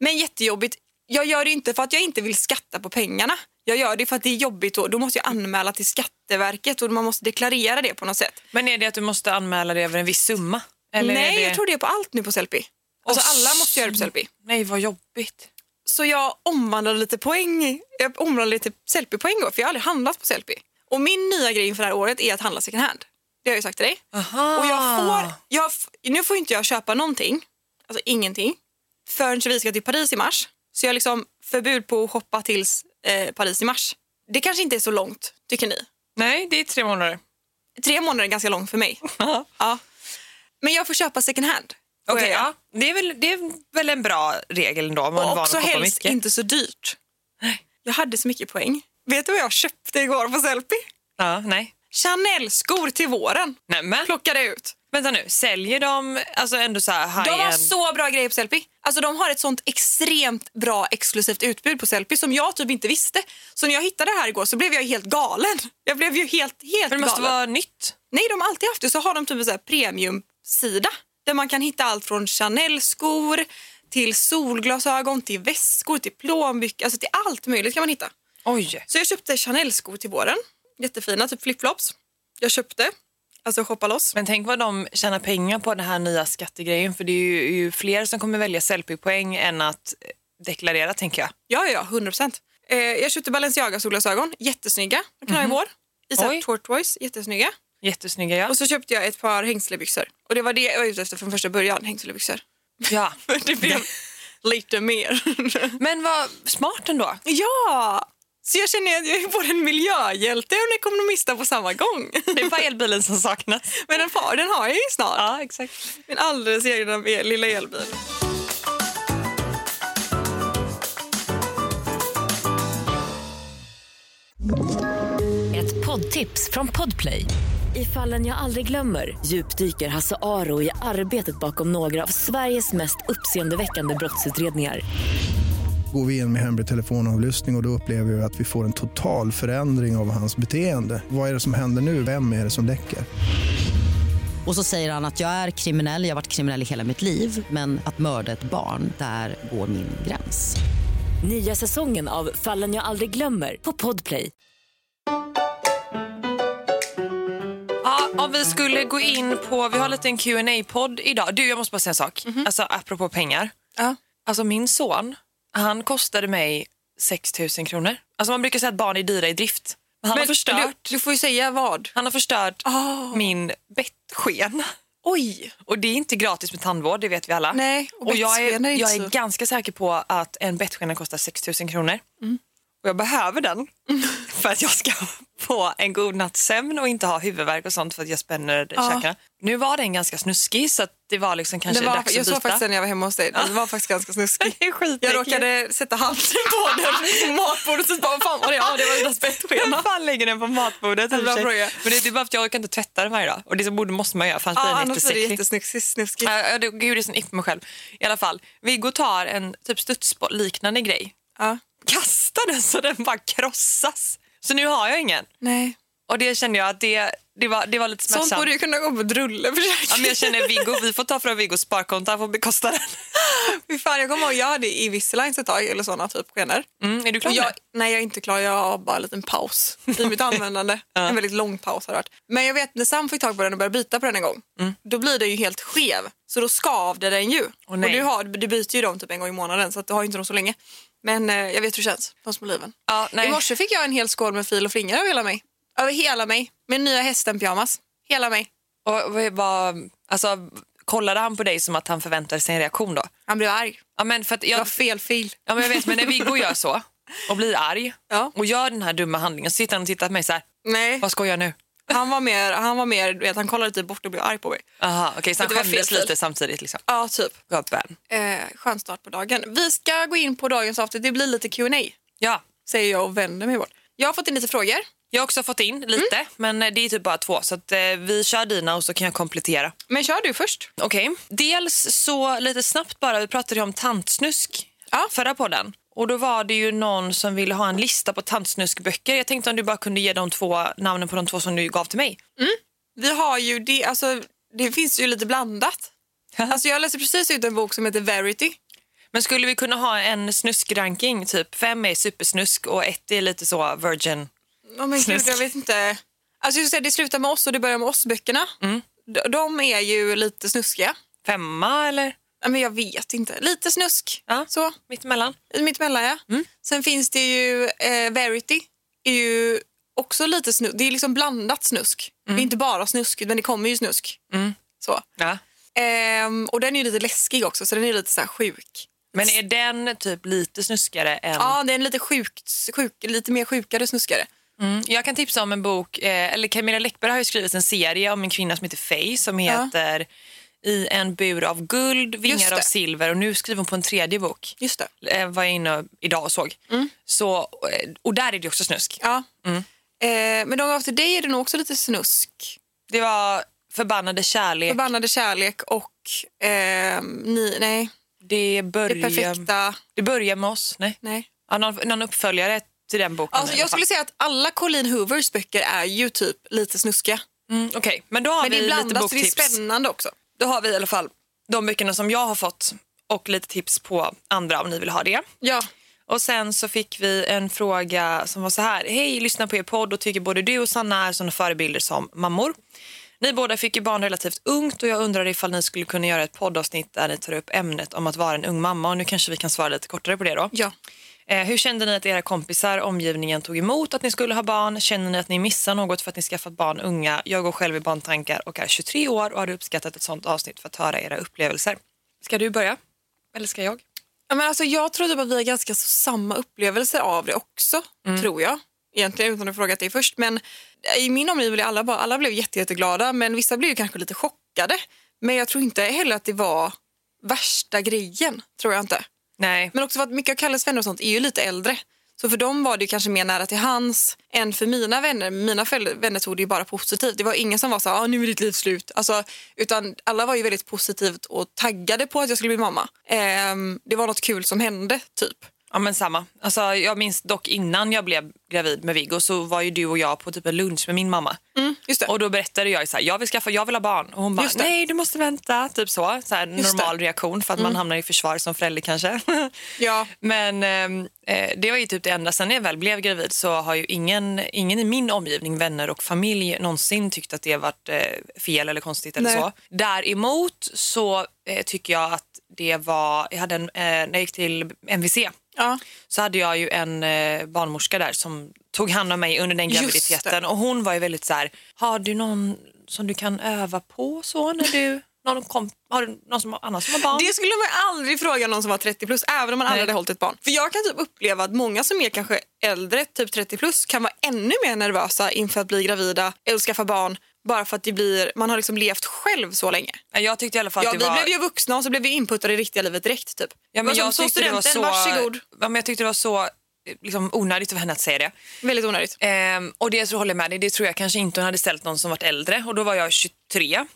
[SPEAKER 3] Men jättejobbigt. Jag gör det inte för att jag inte vill skatta på pengarna. Jag gör det för att det är jobbigt och då måste jag anmäla till Skatteverket och man måste deklarera det på något sätt.
[SPEAKER 2] Men är det att du måste anmäla dig över en viss summa? Eller
[SPEAKER 3] Nej,
[SPEAKER 2] är det...
[SPEAKER 3] jag tror det är på allt nu på Sellpy. Alltså
[SPEAKER 2] Åh,
[SPEAKER 3] alla måste göra det på Sellpy.
[SPEAKER 2] Nej, vad jobbigt.
[SPEAKER 3] Så jag omvandlade lite poäng. Jag omvandlade lite Sellpy-poäng då, för jag har aldrig handlat på Sellpy. Och min nya grej inför det här året är att handla second hand. Det har jag ju sagt till dig.
[SPEAKER 2] Aha.
[SPEAKER 3] Och jag
[SPEAKER 2] Ah.
[SPEAKER 3] får, jag, f- nu får inte jag köpa någonting, alltså ingenting, förrän vi ska till Paris i mars. Så jag har liksom förbud på att shoppa tills eh, Paris i mars. Det kanske inte är så långt, tycker ni?
[SPEAKER 2] Nej, det är tre månader.
[SPEAKER 3] Tre månader är ganska långt
[SPEAKER 2] [LAUGHS]
[SPEAKER 3] för mig.
[SPEAKER 2] Ja.
[SPEAKER 3] ja. Men jag får köpa second hand. får
[SPEAKER 2] Okej,
[SPEAKER 3] jag göra.
[SPEAKER 2] ja. det, är väl, det är väl en bra regel ändå. Om man är
[SPEAKER 3] Och
[SPEAKER 2] van
[SPEAKER 3] också
[SPEAKER 2] att shoppa
[SPEAKER 3] helst
[SPEAKER 2] mycket.
[SPEAKER 3] inte så dyrt. Jag hade så mycket poäng. Vet du vad jag köpte igår på Sellpy?
[SPEAKER 2] Ja, nej.
[SPEAKER 3] Chanel-skor till våren
[SPEAKER 2] Nej, men.
[SPEAKER 3] plockade jag ut.
[SPEAKER 2] Vänta nu, säljer de alltså ändå så här
[SPEAKER 3] De har
[SPEAKER 2] high-end?
[SPEAKER 3] så bra grejer på Sellpy. Alltså de har ett sånt extremt bra exklusivt utbud på Sellpy som jag typ inte visste. Så när jag hittade det här igår så blev jag helt galen. Jag blev ju helt,
[SPEAKER 2] Men
[SPEAKER 3] helt
[SPEAKER 2] det måste
[SPEAKER 3] galen.
[SPEAKER 2] vara nytt.
[SPEAKER 3] Nej, de har alltid haft det. Så har de typ en så här premiumsida där man kan hitta allt från Chanel-skor till solglasögon, till väskor, till plånböcker, alltså till allt möjligt kan man hitta.
[SPEAKER 2] Oj.
[SPEAKER 3] Så jag köpte Chanel-skor till våren. Jättefina, typ flipflops. Jag köpte, alltså shoppa loss.
[SPEAKER 2] Men tänk vad de tjänar pengar på den här nya skattegrejen för det är ju, ju fler som kommer välja selfiepoäng än att eh, deklarera tänker jag.
[SPEAKER 3] Ja, ja, ja, 100 procent. Eh, jag köpte Balenciaga solglasögon, jättesnygga. De kan jag i vår. I så här
[SPEAKER 2] Oj.
[SPEAKER 3] tortoise, jättesnygga.
[SPEAKER 2] Jättesnygga ja.
[SPEAKER 3] Och så köpte jag ett par hängslebyxor. Och det var det jag var ute efter från första början, hängslebyxor.
[SPEAKER 2] ja.
[SPEAKER 3] Men [LAUGHS] det blev lite mer.
[SPEAKER 2] Men vad smart ändå.
[SPEAKER 3] [LAUGHS] ja! Så jag känner att jag är både en miljöhjälte och en ekonomista på samma [LAUGHS] gång.
[SPEAKER 2] Det är bara elbilen som saknas.
[SPEAKER 3] Men den, far, den har jag ju snart.
[SPEAKER 2] Ja, exakt.
[SPEAKER 3] Min alldeles egna el- lilla elbil.
[SPEAKER 1] Ett poddtips från Podplay. I fallen jag aldrig glömmer djupdyker Hasse Aro i arbetet bakom några av Sveriges mest uppseendeväckande brottsutredningar.
[SPEAKER 4] går vi in med hemlig telefonavlyssning och, och då upplever vi att vi får en total förändring av hans beteende. Vad är det som händer nu? Vem är det som läcker?
[SPEAKER 5] Och så säger han att jag är kriminell, jag har varit kriminell i hela mitt liv men att mörda ett barn, där går min gräns.
[SPEAKER 1] Nya säsongen av Fallen jag aldrig glömmer på Podplay.
[SPEAKER 2] Ja, om vi skulle gå in på, vi har lite en qa podd idag. Du, jag måste bara säga en sak.
[SPEAKER 3] Mhm.
[SPEAKER 2] Alltså apropå pengar.
[SPEAKER 3] Ja.
[SPEAKER 2] Alltså min son, han kostade mig 6 000 kronor. Alltså man brukar säga att barn är dyra i drift. Men han har förstört,
[SPEAKER 3] Du, du får ju säga vad.
[SPEAKER 2] han har förstört
[SPEAKER 3] Ah.
[SPEAKER 2] min bettskena.
[SPEAKER 3] Oj!
[SPEAKER 2] Och det är inte gratis med tandvård, det vet vi alla.
[SPEAKER 3] Nej, och
[SPEAKER 2] och jag är,
[SPEAKER 3] bettskena är inte
[SPEAKER 2] jag
[SPEAKER 3] så-
[SPEAKER 2] är ganska säker på att en bettskena kostar 6 000 kronor.
[SPEAKER 3] Mm.
[SPEAKER 2] Och jag behöver den för att jag ska [LAUGHS] få en god natts sömn och inte ha huvudvärk och sånt för att jag spänner
[SPEAKER 3] Ja.
[SPEAKER 2] käkarna. Nu var den ganska snuskig så att det var liksom kanske
[SPEAKER 3] Det var,
[SPEAKER 2] dags
[SPEAKER 3] jag
[SPEAKER 2] att byta.
[SPEAKER 3] såg faktiskt den när jag var hemma hos dig. Den var faktiskt ganska snuskig.
[SPEAKER 2] [LAUGHS] Det är skitäckligt.
[SPEAKER 3] Jag råkade sätta handen på den på matbordet och bara fan vad det, ja, det var deras
[SPEAKER 2] Vem
[SPEAKER 3] bettskena.
[SPEAKER 2] fan lägger den på matbordet? i och för
[SPEAKER 3] Bra
[SPEAKER 2] sig?
[SPEAKER 3] fråga.
[SPEAKER 2] Men det är typ bara för att jag orkar inte tvätta den varje dag. Och det så borde, måste man göra för annars
[SPEAKER 3] Ja,
[SPEAKER 2] blir den
[SPEAKER 3] annars är det
[SPEAKER 2] jättesäcklig.
[SPEAKER 3] jättesnuskigt. snuskigt.
[SPEAKER 2] Ja, ja, det, gud, det är sån ick på mig själv. I alla fall, Viggo tar en typ studsboll liknande grej.
[SPEAKER 3] Ja.
[SPEAKER 2] Kastar den så den bara krossas. Så nu har jag ingen.
[SPEAKER 3] Nej.
[SPEAKER 2] Och det kände jag att det, det, var, det var lite
[SPEAKER 3] Sånt
[SPEAKER 2] smärtsamt.
[SPEAKER 3] borde ju kunna gå på
[SPEAKER 2] Ja, men
[SPEAKER 3] drulleförsäkring.
[SPEAKER 2] jag känner Viggo, vi får ta från Viggos sparkonto, han får bekosta den.
[SPEAKER 3] Fy fan, jag kommer ihåg jag hade i Visselines ett tag, eller sådana typ skenor.
[SPEAKER 2] Mm, är du klar
[SPEAKER 3] Och
[SPEAKER 2] med
[SPEAKER 3] jag, nej, jag är inte klar. Jag har bara en liten paus
[SPEAKER 2] [LAUGHS]
[SPEAKER 3] i mitt användande. En väldigt lång paus har det varit. Men jag vet, när Sam fick tag på den och började bita på den en gång,
[SPEAKER 2] Mm.
[SPEAKER 3] då blir den ju helt skev. Så då skavde den ju. och
[SPEAKER 2] nej.
[SPEAKER 3] du, har, du byter ju dem typ en gång i månaden, så att du har ju inte dem så länge. Men eh, jag vet hur det känns, de små liven.
[SPEAKER 2] Ja, nej.
[SPEAKER 3] I morse fick jag en hel skål med fil och fingrar över hela mig. Över hela mig. Med nya hästen-pyjamas. Hela mig.
[SPEAKER 2] Och, vad- vad- alltså, kollade han på dig som att han förväntade sig en reaktion då?
[SPEAKER 3] Han blev arg.
[SPEAKER 2] Ja, men för att
[SPEAKER 3] Jag
[SPEAKER 2] jag,
[SPEAKER 3] har fel fil.
[SPEAKER 2] ja, men jag vet, men när Viggo gör så och blir arg
[SPEAKER 3] Ja.
[SPEAKER 2] och gör den här dumma handlingen så sitter han och tittar på mig så här,
[SPEAKER 3] Nej,
[SPEAKER 2] vad ska jag nu?
[SPEAKER 3] han var mer, han var mer, du vet, han kollade typ bort och blev arg på mig.
[SPEAKER 2] Aha, okej, så han
[SPEAKER 3] Det var fel
[SPEAKER 2] skämdes
[SPEAKER 3] stil.
[SPEAKER 2] lite samtidigt liksom.
[SPEAKER 3] Ja, typ.
[SPEAKER 2] Gubben.
[SPEAKER 3] Eh, skön start på dagen. Vi ska gå in på dagens avsnitt. Det blir lite Q&A
[SPEAKER 2] Ja,
[SPEAKER 3] säger jag och vänder mig bort. Jag har fått in lite frågor.
[SPEAKER 2] jag har också fått in lite, men eh, det är typ bara två. Så att, eh, vi kör dina och så kan jag komplettera.
[SPEAKER 3] Men kör du först.
[SPEAKER 2] Okej, dels så lite snabbt bara, vi pratade ju om tantsnusk
[SPEAKER 3] Ja.
[SPEAKER 2] förra podden. Och då var det ju någon som ville ha en lista på tantsnuskböcker. Jag tänkte om du bara kunde ge de två namnen på de två som du gav till mig.
[SPEAKER 3] Vi har ju det, alltså det finns ju lite blandat. Alltså jag läser precis ut en bok som heter Verity.
[SPEAKER 2] Men skulle vi kunna ha en snuskranking, typ fem är supersnusk och ett är lite så virgin?
[SPEAKER 3] Åh men gud,
[SPEAKER 2] Snusk.
[SPEAKER 3] jag vet inte. Alltså jag säga, det slutar med oss och det börjar med oss-böckerna. D- De är ju lite snuskiga.
[SPEAKER 2] Femma eller
[SPEAKER 3] Ja, Men jag vet inte. Lite snusk.
[SPEAKER 2] Ja.
[SPEAKER 3] Så,
[SPEAKER 2] mittemellan?
[SPEAKER 3] mittemellan ja. Sen finns det ju eh, Verity. Är ju också lite snusk. Det är liksom blandat snusk. Det är inte bara snusk, men det kommer ju snusk. Så.
[SPEAKER 2] Ja.
[SPEAKER 3] Ehm, och den är ju lite läskig också, så den är lite så här sjuk.
[SPEAKER 2] Men är den typ lite snuskigare än...
[SPEAKER 3] Ja, det är en lite, sjukt, sjuk, lite mer sjukare snuskare.
[SPEAKER 2] Mm. Jag kan tipsa om en bok, eh, eller Camilla Läckberg har ju skrivit en serie om en kvinna som heter Faye som heter I en bur av guld,
[SPEAKER 3] Just
[SPEAKER 2] vingar
[SPEAKER 3] det.
[SPEAKER 2] av silver och nu skriver hon på en tredje bok.
[SPEAKER 3] Just det.
[SPEAKER 2] Eh, var jag inne idag och såg. Så, eh, och där är det också snusk.
[SPEAKER 3] Ja. Ehm, men Dog After Day är det nog också lite snusk.
[SPEAKER 2] Det var förbannade kärlek,
[SPEAKER 3] Förbannade kärlek och ehm, ni, nej,
[SPEAKER 2] det,
[SPEAKER 3] det
[SPEAKER 2] börjar,
[SPEAKER 3] perfekta.
[SPEAKER 2] det börjar med oss. Nej.
[SPEAKER 3] Nej.
[SPEAKER 2] Ja, någon, någon uppföljare till den boken.
[SPEAKER 3] Alltså,
[SPEAKER 2] i alla
[SPEAKER 3] jag skulle
[SPEAKER 2] fall.
[SPEAKER 3] säga att alla Colleen Hoovers böcker är ju typ lite snuskiga.
[SPEAKER 2] mm, Okej, men då har
[SPEAKER 3] Men det
[SPEAKER 2] vi
[SPEAKER 3] är
[SPEAKER 2] lite
[SPEAKER 3] blandat så det är
[SPEAKER 2] boktips.
[SPEAKER 3] spännande också.
[SPEAKER 2] Då har vi i alla fall de böckerna som jag har fått och lite tips på andra om ni vill ha det.
[SPEAKER 3] Ja.
[SPEAKER 2] Och sen så fick vi en fråga som var så här. Hej, lyssna på er podd och tycker både du och Sanna är sådana förebilder som mammor. Ni båda fick ju barn relativt ungt och jag undrar ifall ni skulle kunna göra ett poddavsnitt där ni tar upp ämnet om att vara en ung mamma och nu kanske vi kan svara lite kortare på det då.
[SPEAKER 3] ja.
[SPEAKER 2] Eh, hur kände ni att era kompisar, omgivningen tog emot att ni skulle ha barn? Känner ni att ni missar något för att ni skaffat barn unga? Jag går själv i barntankar och är 23 år och hade uppskattat ett sånt avsnitt för att höra era upplevelser. Ska du börja? Eller ska jag?
[SPEAKER 3] Ja, Men alltså, jag tror typ att vi har ganska så samma upplevelser av det också, tror jag. Egentligen utan att fråga dig först. Men eh, i min omgivning blev alla, bara, alla blev jätte, jätteglada, men vissa blev ju kanske lite chockade. Men jag tror inte heller att det var värsta grejen, tror jag inte.
[SPEAKER 2] Nej.
[SPEAKER 3] Men också för att mycket av Kalles vänner och sånt är ju lite äldre. Så för dem var det ju kanske mer nära till hans än för mina vänner. Mina föräldrar- vänner tog det ju bara positivt. Det var ingen som var så här, ah, nu är ditt liv slut. Alltså, utan alla var ju väldigt positivt och taggade på att jag skulle bli mamma. Ehm, det var något kul som hände, typ.
[SPEAKER 2] Ja, men samma. Alltså, jag minns dock innan jag blev gravid med Viggo så var ju du och jag på typ en lunch med min mamma.
[SPEAKER 3] Just det.
[SPEAKER 2] Och då berättade jag ju så här, jag vill skaffa, jag vill ha barn. Och hon bara,
[SPEAKER 3] Mm. Just det.
[SPEAKER 2] nej du måste vänta. Typ så, så här,
[SPEAKER 3] Just Mm.
[SPEAKER 2] normal reaktion för att man hamnar i försvar som förälder kanske. [LAUGHS]
[SPEAKER 3] Ja.
[SPEAKER 2] Men ehm, eh, det var ju typ det enda. Sen när jag väl blev gravid så har ju ingen, ingen i min omgivning, vänner och familj någonsin tyckt att det har varit eh, fel eller konstigt eller
[SPEAKER 3] Nej.
[SPEAKER 2] så. Däremot så eh, tycker jag att det var, jag hade en, eh, när jag gick till MVC
[SPEAKER 3] ja.
[SPEAKER 2] så hade jag ju en eh, barnmorska där som tog hand om mig under den
[SPEAKER 3] Just
[SPEAKER 2] graviditeten och hon var ju väldigt så här, har du någon som du kan öva på så när du, någon kom, har du någon som, annan som har barn?
[SPEAKER 3] Det skulle man ju aldrig fråga någon som var 30 plus, även om man aldrig
[SPEAKER 2] Nej.
[SPEAKER 3] hade hållit ett barn. För jag kan typ uppleva att många som är kanske äldre, typ 30 plus, kan vara ännu mer nervösa inför att bli gravida eller skaffa barn bara för att det blir, man har liksom levt själv så länge.
[SPEAKER 2] Ja, Jag tyckte i alla fall
[SPEAKER 3] ja,
[SPEAKER 2] att
[SPEAKER 3] vi
[SPEAKER 2] det var...
[SPEAKER 3] blev ju vuxna och så blev vi inputtade i riktiga livet direkt. Typ.
[SPEAKER 2] ja, men
[SPEAKER 3] Det var
[SPEAKER 2] jag
[SPEAKER 3] som,
[SPEAKER 2] tyckte det var
[SPEAKER 3] studenten, varsågod.
[SPEAKER 2] Ja, men jag tyckte det var så eh, liksom, onödigt av henne att säga det.
[SPEAKER 3] Väldigt onödigt.
[SPEAKER 2] Ehm, och det tror jag håller med dig, det tror jag kanske inte hon hade ställt någon som varit äldre och då var jag 23.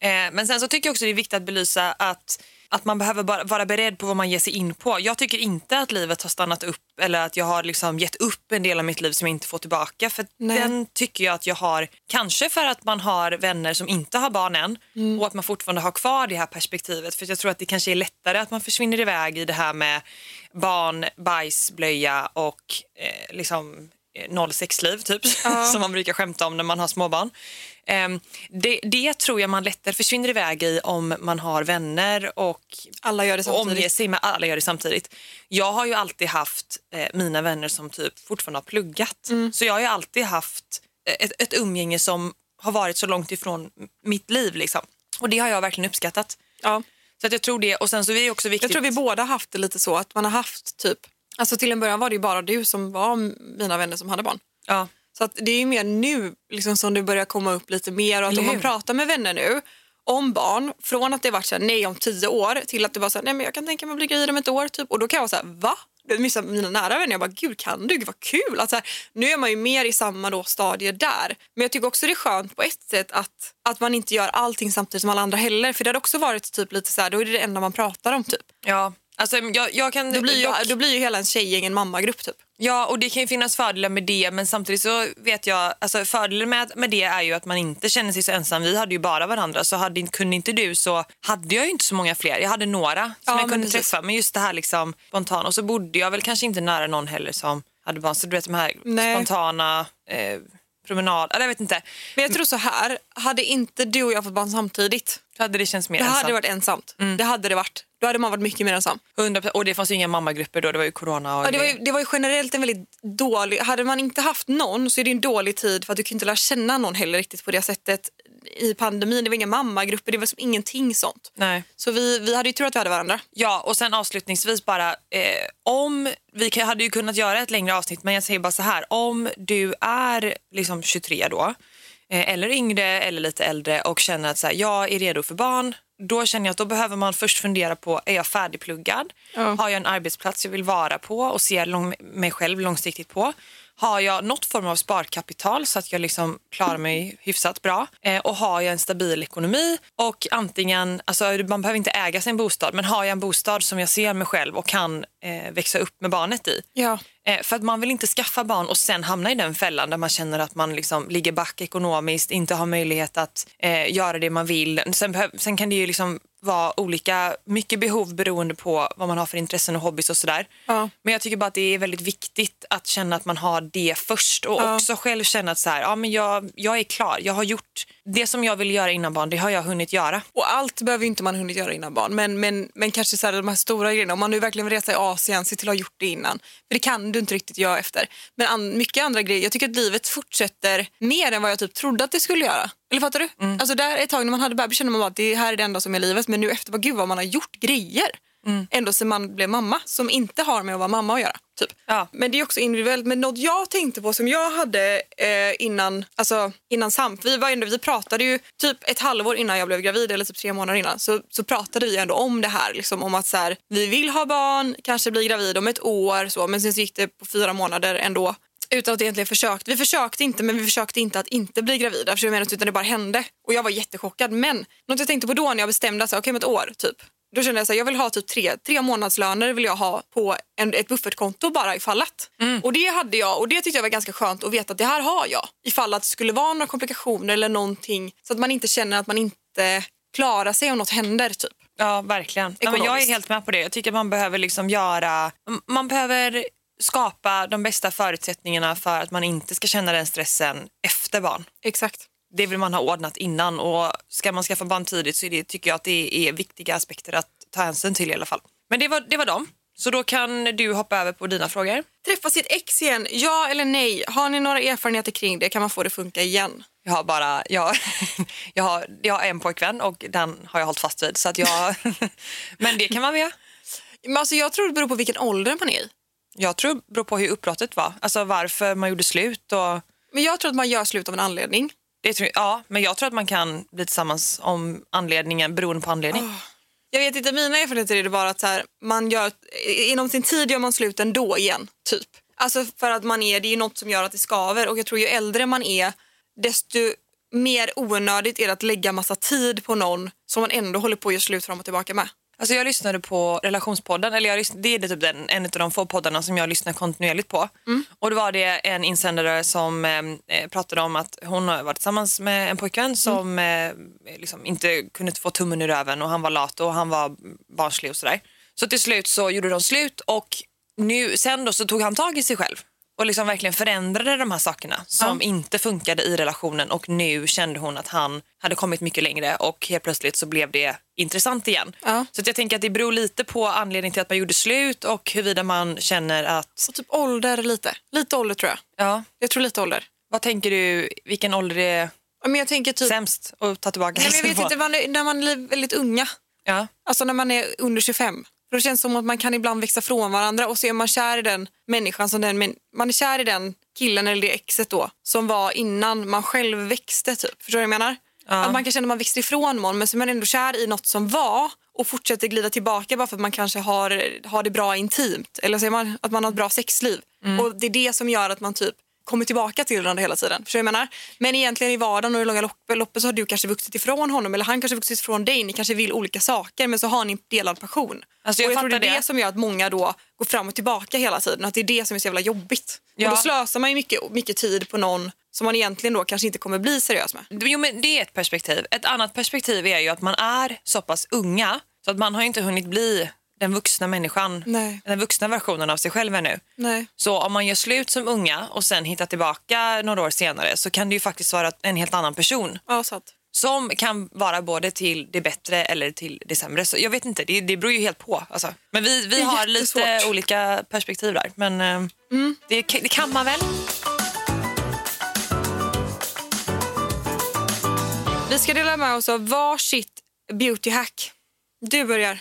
[SPEAKER 2] Ehm, men sen så tycker jag också det är viktigt att belysa att, att man behöver bara vara beredd på vad man ger sig in på. Jag tycker inte att livet har stannat upp eller att jag har liksom gett upp en del av mitt liv som jag inte får tillbaka. För
[SPEAKER 3] Nej.
[SPEAKER 2] den tycker jag att jag har, kanske för att man har vänner som inte har barn än och att man fortfarande har kvar det här perspektivet. För jag tror att det kanske är lättare att man försvinner iväg i det här med barn, bajs, blöja och eh, liksom eh, noll sexliv typ, [LAUGHS] som man brukar skämta om när man har småbarn. Ehm, det, det tror jag man lättare försvinner iväg i om man har vänner och
[SPEAKER 3] Alla gör det
[SPEAKER 2] och omge
[SPEAKER 3] samtidigt.
[SPEAKER 2] sig med alla gör det samtidigt. Jag har ju alltid haft eh, mina vänner som typ fortfarande har pluggat.
[SPEAKER 3] Mm.
[SPEAKER 2] Så jag har ju alltid haft eh, ett, ett umgänge som har varit så långt ifrån m- mitt liv. Liksom. Och det har jag verkligen uppskattat.
[SPEAKER 3] Ja.
[SPEAKER 2] Så att jag tror det. Och sen så är det också viktigt.
[SPEAKER 3] Jag tror vi båda haft det lite så att man har haft typ, alltså till en början var det ju bara du som var mina vänner som hade barn.
[SPEAKER 2] ja.
[SPEAKER 3] Så att det är ju mer nu liksom, som det börjar komma upp lite mer och att
[SPEAKER 2] Eller
[SPEAKER 3] om man
[SPEAKER 2] hur?
[SPEAKER 3] pratar med vänner nu om barn, från att det varit så här, nej om tio år till att det var så här, nej men jag kan tänka mig att bli gravid om ett år typ och då kan jag vara så här, va? Det är Vissa av mina nära vänner, jag bara gud kan du, gud vad kul. Alltså, nu är man ju mer i samma då, stadie där. Men jag tycker också det är skönt på ett sätt att, att man inte gör allting samtidigt som alla andra heller. För det hade också varit typ lite så här, då är det det enda man pratar om typ.
[SPEAKER 2] ja. Alltså, jag, jag kan...
[SPEAKER 3] Då blir ju,
[SPEAKER 2] dock-
[SPEAKER 3] då blir ju hela ens tjejgäng en mammagrupp typ.
[SPEAKER 2] Ja, och det kan ju finnas fördelar med det men samtidigt så vet jag, alltså fördelen med, med det är ju att man inte känner sig så ensam. Vi hade ju bara varandra så hade, inte- kunde inte du så hade jag ju inte så många fler. Jag hade några som
[SPEAKER 3] Ja,
[SPEAKER 2] jag
[SPEAKER 3] men
[SPEAKER 2] kunde
[SPEAKER 3] precis.
[SPEAKER 2] träffa men just det här liksom spontana och så bodde jag väl kanske inte nära någon heller som hade barn. Så du vet de här
[SPEAKER 3] Nej.
[SPEAKER 2] spontana eh, promenad, eller jag vet inte.
[SPEAKER 3] Men jag tror så här, hade inte du och jag fått barn samtidigt
[SPEAKER 2] Så Då hade det känts mer
[SPEAKER 3] Det
[SPEAKER 2] ensamt.
[SPEAKER 3] hade varit ensamt. Mm. Det hade det varit. Då hade man varit mycket mer ensam.
[SPEAKER 2] 100%, och det fanns ju inga mammagrupper då, det var ju corona och
[SPEAKER 3] Ja, det, var ju, det var ju generellt en väldigt dålig... Hade man inte haft någon så är det en dålig tid för att du kan inte lära känna någon heller riktigt på det sättet i pandemin. Det var inga mammagrupper, det var som ingenting sånt.
[SPEAKER 2] Nej.
[SPEAKER 3] Så vi, vi hade ju tur att vi hade varandra.
[SPEAKER 2] Ja, och sen avslutningsvis bara, eh, om, vi kan, hade ju kunnat göra ett längre avsnitt men jag säger bara så här, om du är liksom 23 då, eh, eller yngre eller lite äldre och känner att så här, jag är redo för barn, då känner jag att då behöver man först fundera på, är jag färdigpluggad? Har jag en arbetsplats jag vill vara på och ser lång, mig själv långsiktigt på? Har jag något form av sparkapital så att jag liksom klarar mig hyfsat bra? Eh, och har jag en stabil ekonomi? Och antingen, alltså man behöver inte äga sin bostad, men har jag en bostad som jag ser mig själv och kan eh, växa upp med barnet i?
[SPEAKER 3] Ja.
[SPEAKER 2] Eh, för att man vill inte skaffa barn och sen hamna i den fällan där man känner att man liksom ligger back ekonomiskt, inte har möjlighet att eh, göra det man vill. Sen, behöv, sen kan det ju liksom vara olika, mycket behov beroende på vad man har för intressen och hobbys och sådär.
[SPEAKER 3] Ja.
[SPEAKER 2] Men jag tycker bara att det är väldigt viktigt att känna att man har det först och också själv känna att så här, ja, men jag, jag är klar, jag har gjort det som jag ville göra innan barn, det har jag hunnit göra.
[SPEAKER 3] Och allt behöver ju inte man hunnit göra innan barn, men, men, men kanske så här, de här stora grejerna. Om man nu verkligen vill resa i Asien, se till att ha gjort det innan. För det kan du inte riktigt göra efter. Men an, mycket andra grejer. Jag tycker att livet fortsätter mer än vad jag typ trodde att det skulle göra. Eller fattar du? Alltså där ett tag när man hade bebis kände man bara att det här är det enda som är livet. Men nu efter, bara, gud vad man har gjort grejer. Ändå sen man blev mamma, som inte har med att vara mamma att göra. Typ.
[SPEAKER 2] Ja.
[SPEAKER 3] Men det är också individuellt. Men något jag tänkte på som jag hade eh, innan, alltså, innan SAMP, vi, var ändå, vi pratade ju typ ett halvår innan jag blev gravid eller typ tre månader innan så, så pratade vi ändå om det här. Liksom, om att så här, vi vill ha barn, kanske bli gravid om ett år så, men sen så gick det på fyra månader ändå. Utan att egentligen försökt. Vi försökte inte, men vi försökte inte att inte bli gravida. För jag menar, utan det bara hände. Och jag var jättechockad. Men något jag tänkte på då när jag bestämde att okay, om ett år, typ, då kände jag att jag vill ha typ tre, tre månadslöner vill jag ha på en, ett buffertkonto bara ifall att. Och det hade jag och det tyckte jag var ganska skönt att veta att det här har jag ifall att det skulle vara några komplikationer eller någonting så att man inte känner att man inte klarar sig om något händer typ.
[SPEAKER 2] Ja, verkligen. Nej, men jag är
[SPEAKER 3] Ekonomiskt.
[SPEAKER 2] helt med på det. Jag tycker man behöver liksom göra... m- Man behöver skapa de bästa förutsättningarna för att man inte ska känna den stressen efter barn.
[SPEAKER 3] Exakt.
[SPEAKER 2] Det vill man ha ordnat innan och ska man skaffa barn tidigt så är det, tycker jag att det är viktiga aspekter att ta hänsyn till i alla fall. Men det var, det var dem. Så då kan du hoppa över på dina frågor.
[SPEAKER 3] Träffa sitt ex igen, ja eller nej? Har ni några erfarenheter kring det? Kan man få det att funka igen?
[SPEAKER 2] Jag har bara, jag, [LAUGHS] jag, har, jag har en pojkvän och den har jag hållit fast vid. Så att jag, [LAUGHS] men det kan man väl göra.
[SPEAKER 3] Men alltså, jag tror det beror på vilken ålder man är i.
[SPEAKER 2] Jag tror det beror på hur uppbrottet var. Alltså varför man gjorde slut och
[SPEAKER 3] Men jag tror att man gör slut av en anledning.
[SPEAKER 2] Det tror jag, ja, men jag tror att man kan bli tillsammans om anledningen, beroende på anledning.
[SPEAKER 3] Jag vet inte, mina erfarenheter är det bara att så här, man gör, inom sin tid gör man slut ändå igen, typ. Alltså för att man är, det är ju något som gör att det skaver och jag tror ju äldre man är desto mer onödigt är det att lägga massa tid på någon som man ändå håller på att göra slut fram och tillbaka med.
[SPEAKER 2] Alltså jag lyssnade på relationspodden, eller jag lyssn- det är det typ den, en av de få poddarna som jag lyssnar kontinuerligt på. Och då var det en insändare som eh, pratade om att hon har varit tillsammans med en pojkvän som eh, liksom inte kunde få tummen ur röven och han var lat och han var barnslig och sådär. Så till slut så gjorde de slut och nu, sen då så tog han tag i sig själv och liksom verkligen förändrade de här sakerna som inte funkade i relationen och nu kände hon att han hade kommit mycket längre och helt plötsligt så blev det intressant igen.
[SPEAKER 3] Ja.
[SPEAKER 2] Så att jag tänker att det beror lite på anledningen till att man gjorde slut och huruvida man känner att...
[SPEAKER 3] Så typ ålder lite. Lite ålder tror jag.
[SPEAKER 2] Ja.
[SPEAKER 3] Jag tror lite ålder.
[SPEAKER 2] Vad tänker du, vilken ålder är
[SPEAKER 3] Ja, Men jag tänker typ...
[SPEAKER 2] sämst att ta tillbaka
[SPEAKER 3] nej, men jag
[SPEAKER 2] sig
[SPEAKER 3] vet
[SPEAKER 2] på? [LAUGHS]
[SPEAKER 3] inte, man, när man är väldigt unga.
[SPEAKER 2] Ja.
[SPEAKER 3] Alltså när man är under 25. För det känns som att man kan ibland växa från varandra och så är man kär i den människan som den, men man är kär i den killen eller det exet då som var innan man själv växte typ. Förstår du vad jag menar? Att man kan känna att man växer ifrån någon men så är man ändå kär i något som var och fortsätter glida tillbaka bara för att man kanske har, har det bra intimt. Eller så är man, att man har ett bra sexliv.
[SPEAKER 2] Mm.
[SPEAKER 3] Och det är det som gör att man typ kommer tillbaka till varandra hela tiden. Förstår du vad jag menar? Men egentligen i vardagen och i långa lopp- loppet så har du kanske vuxit ifrån honom eller han kanske vuxit ifrån dig. Ni kanske vill olika saker men så har ni en delad passion.
[SPEAKER 2] Alltså, jag
[SPEAKER 3] och jag tror det
[SPEAKER 2] fattar
[SPEAKER 3] är det.
[SPEAKER 2] det.
[SPEAKER 3] som gör att många då går fram och tillbaka hela tiden. Att det är det som är så jävla jobbigt.
[SPEAKER 2] Ja.
[SPEAKER 3] Och då slösar man ju mycket, mycket tid på någon som man egentligen då kanske inte kommer bli seriös med.
[SPEAKER 2] Jo, men det är ett perspektiv. Ett annat perspektiv är ju att man är så pass unga så att man har ju inte hunnit bli den vuxna människan,
[SPEAKER 3] Nej.
[SPEAKER 2] den vuxna versionen av sig själv ännu.
[SPEAKER 3] Nej.
[SPEAKER 2] Så om man gör slut som unga och sen hittar tillbaka några år senare så kan det ju faktiskt vara en helt annan person.
[SPEAKER 3] Ja, sant.
[SPEAKER 2] som kan vara både till det bättre eller till det sämre. Så jag vet inte, det, det beror ju helt på. Alltså. Men vi, vi
[SPEAKER 3] är
[SPEAKER 2] har lite
[SPEAKER 3] jättesvårt. Mm.
[SPEAKER 2] olika perspektiv där. Men eh, det, ka- det kan man väl?
[SPEAKER 3] Vi ska dela med oss av varsitt beautyhack. Du börjar.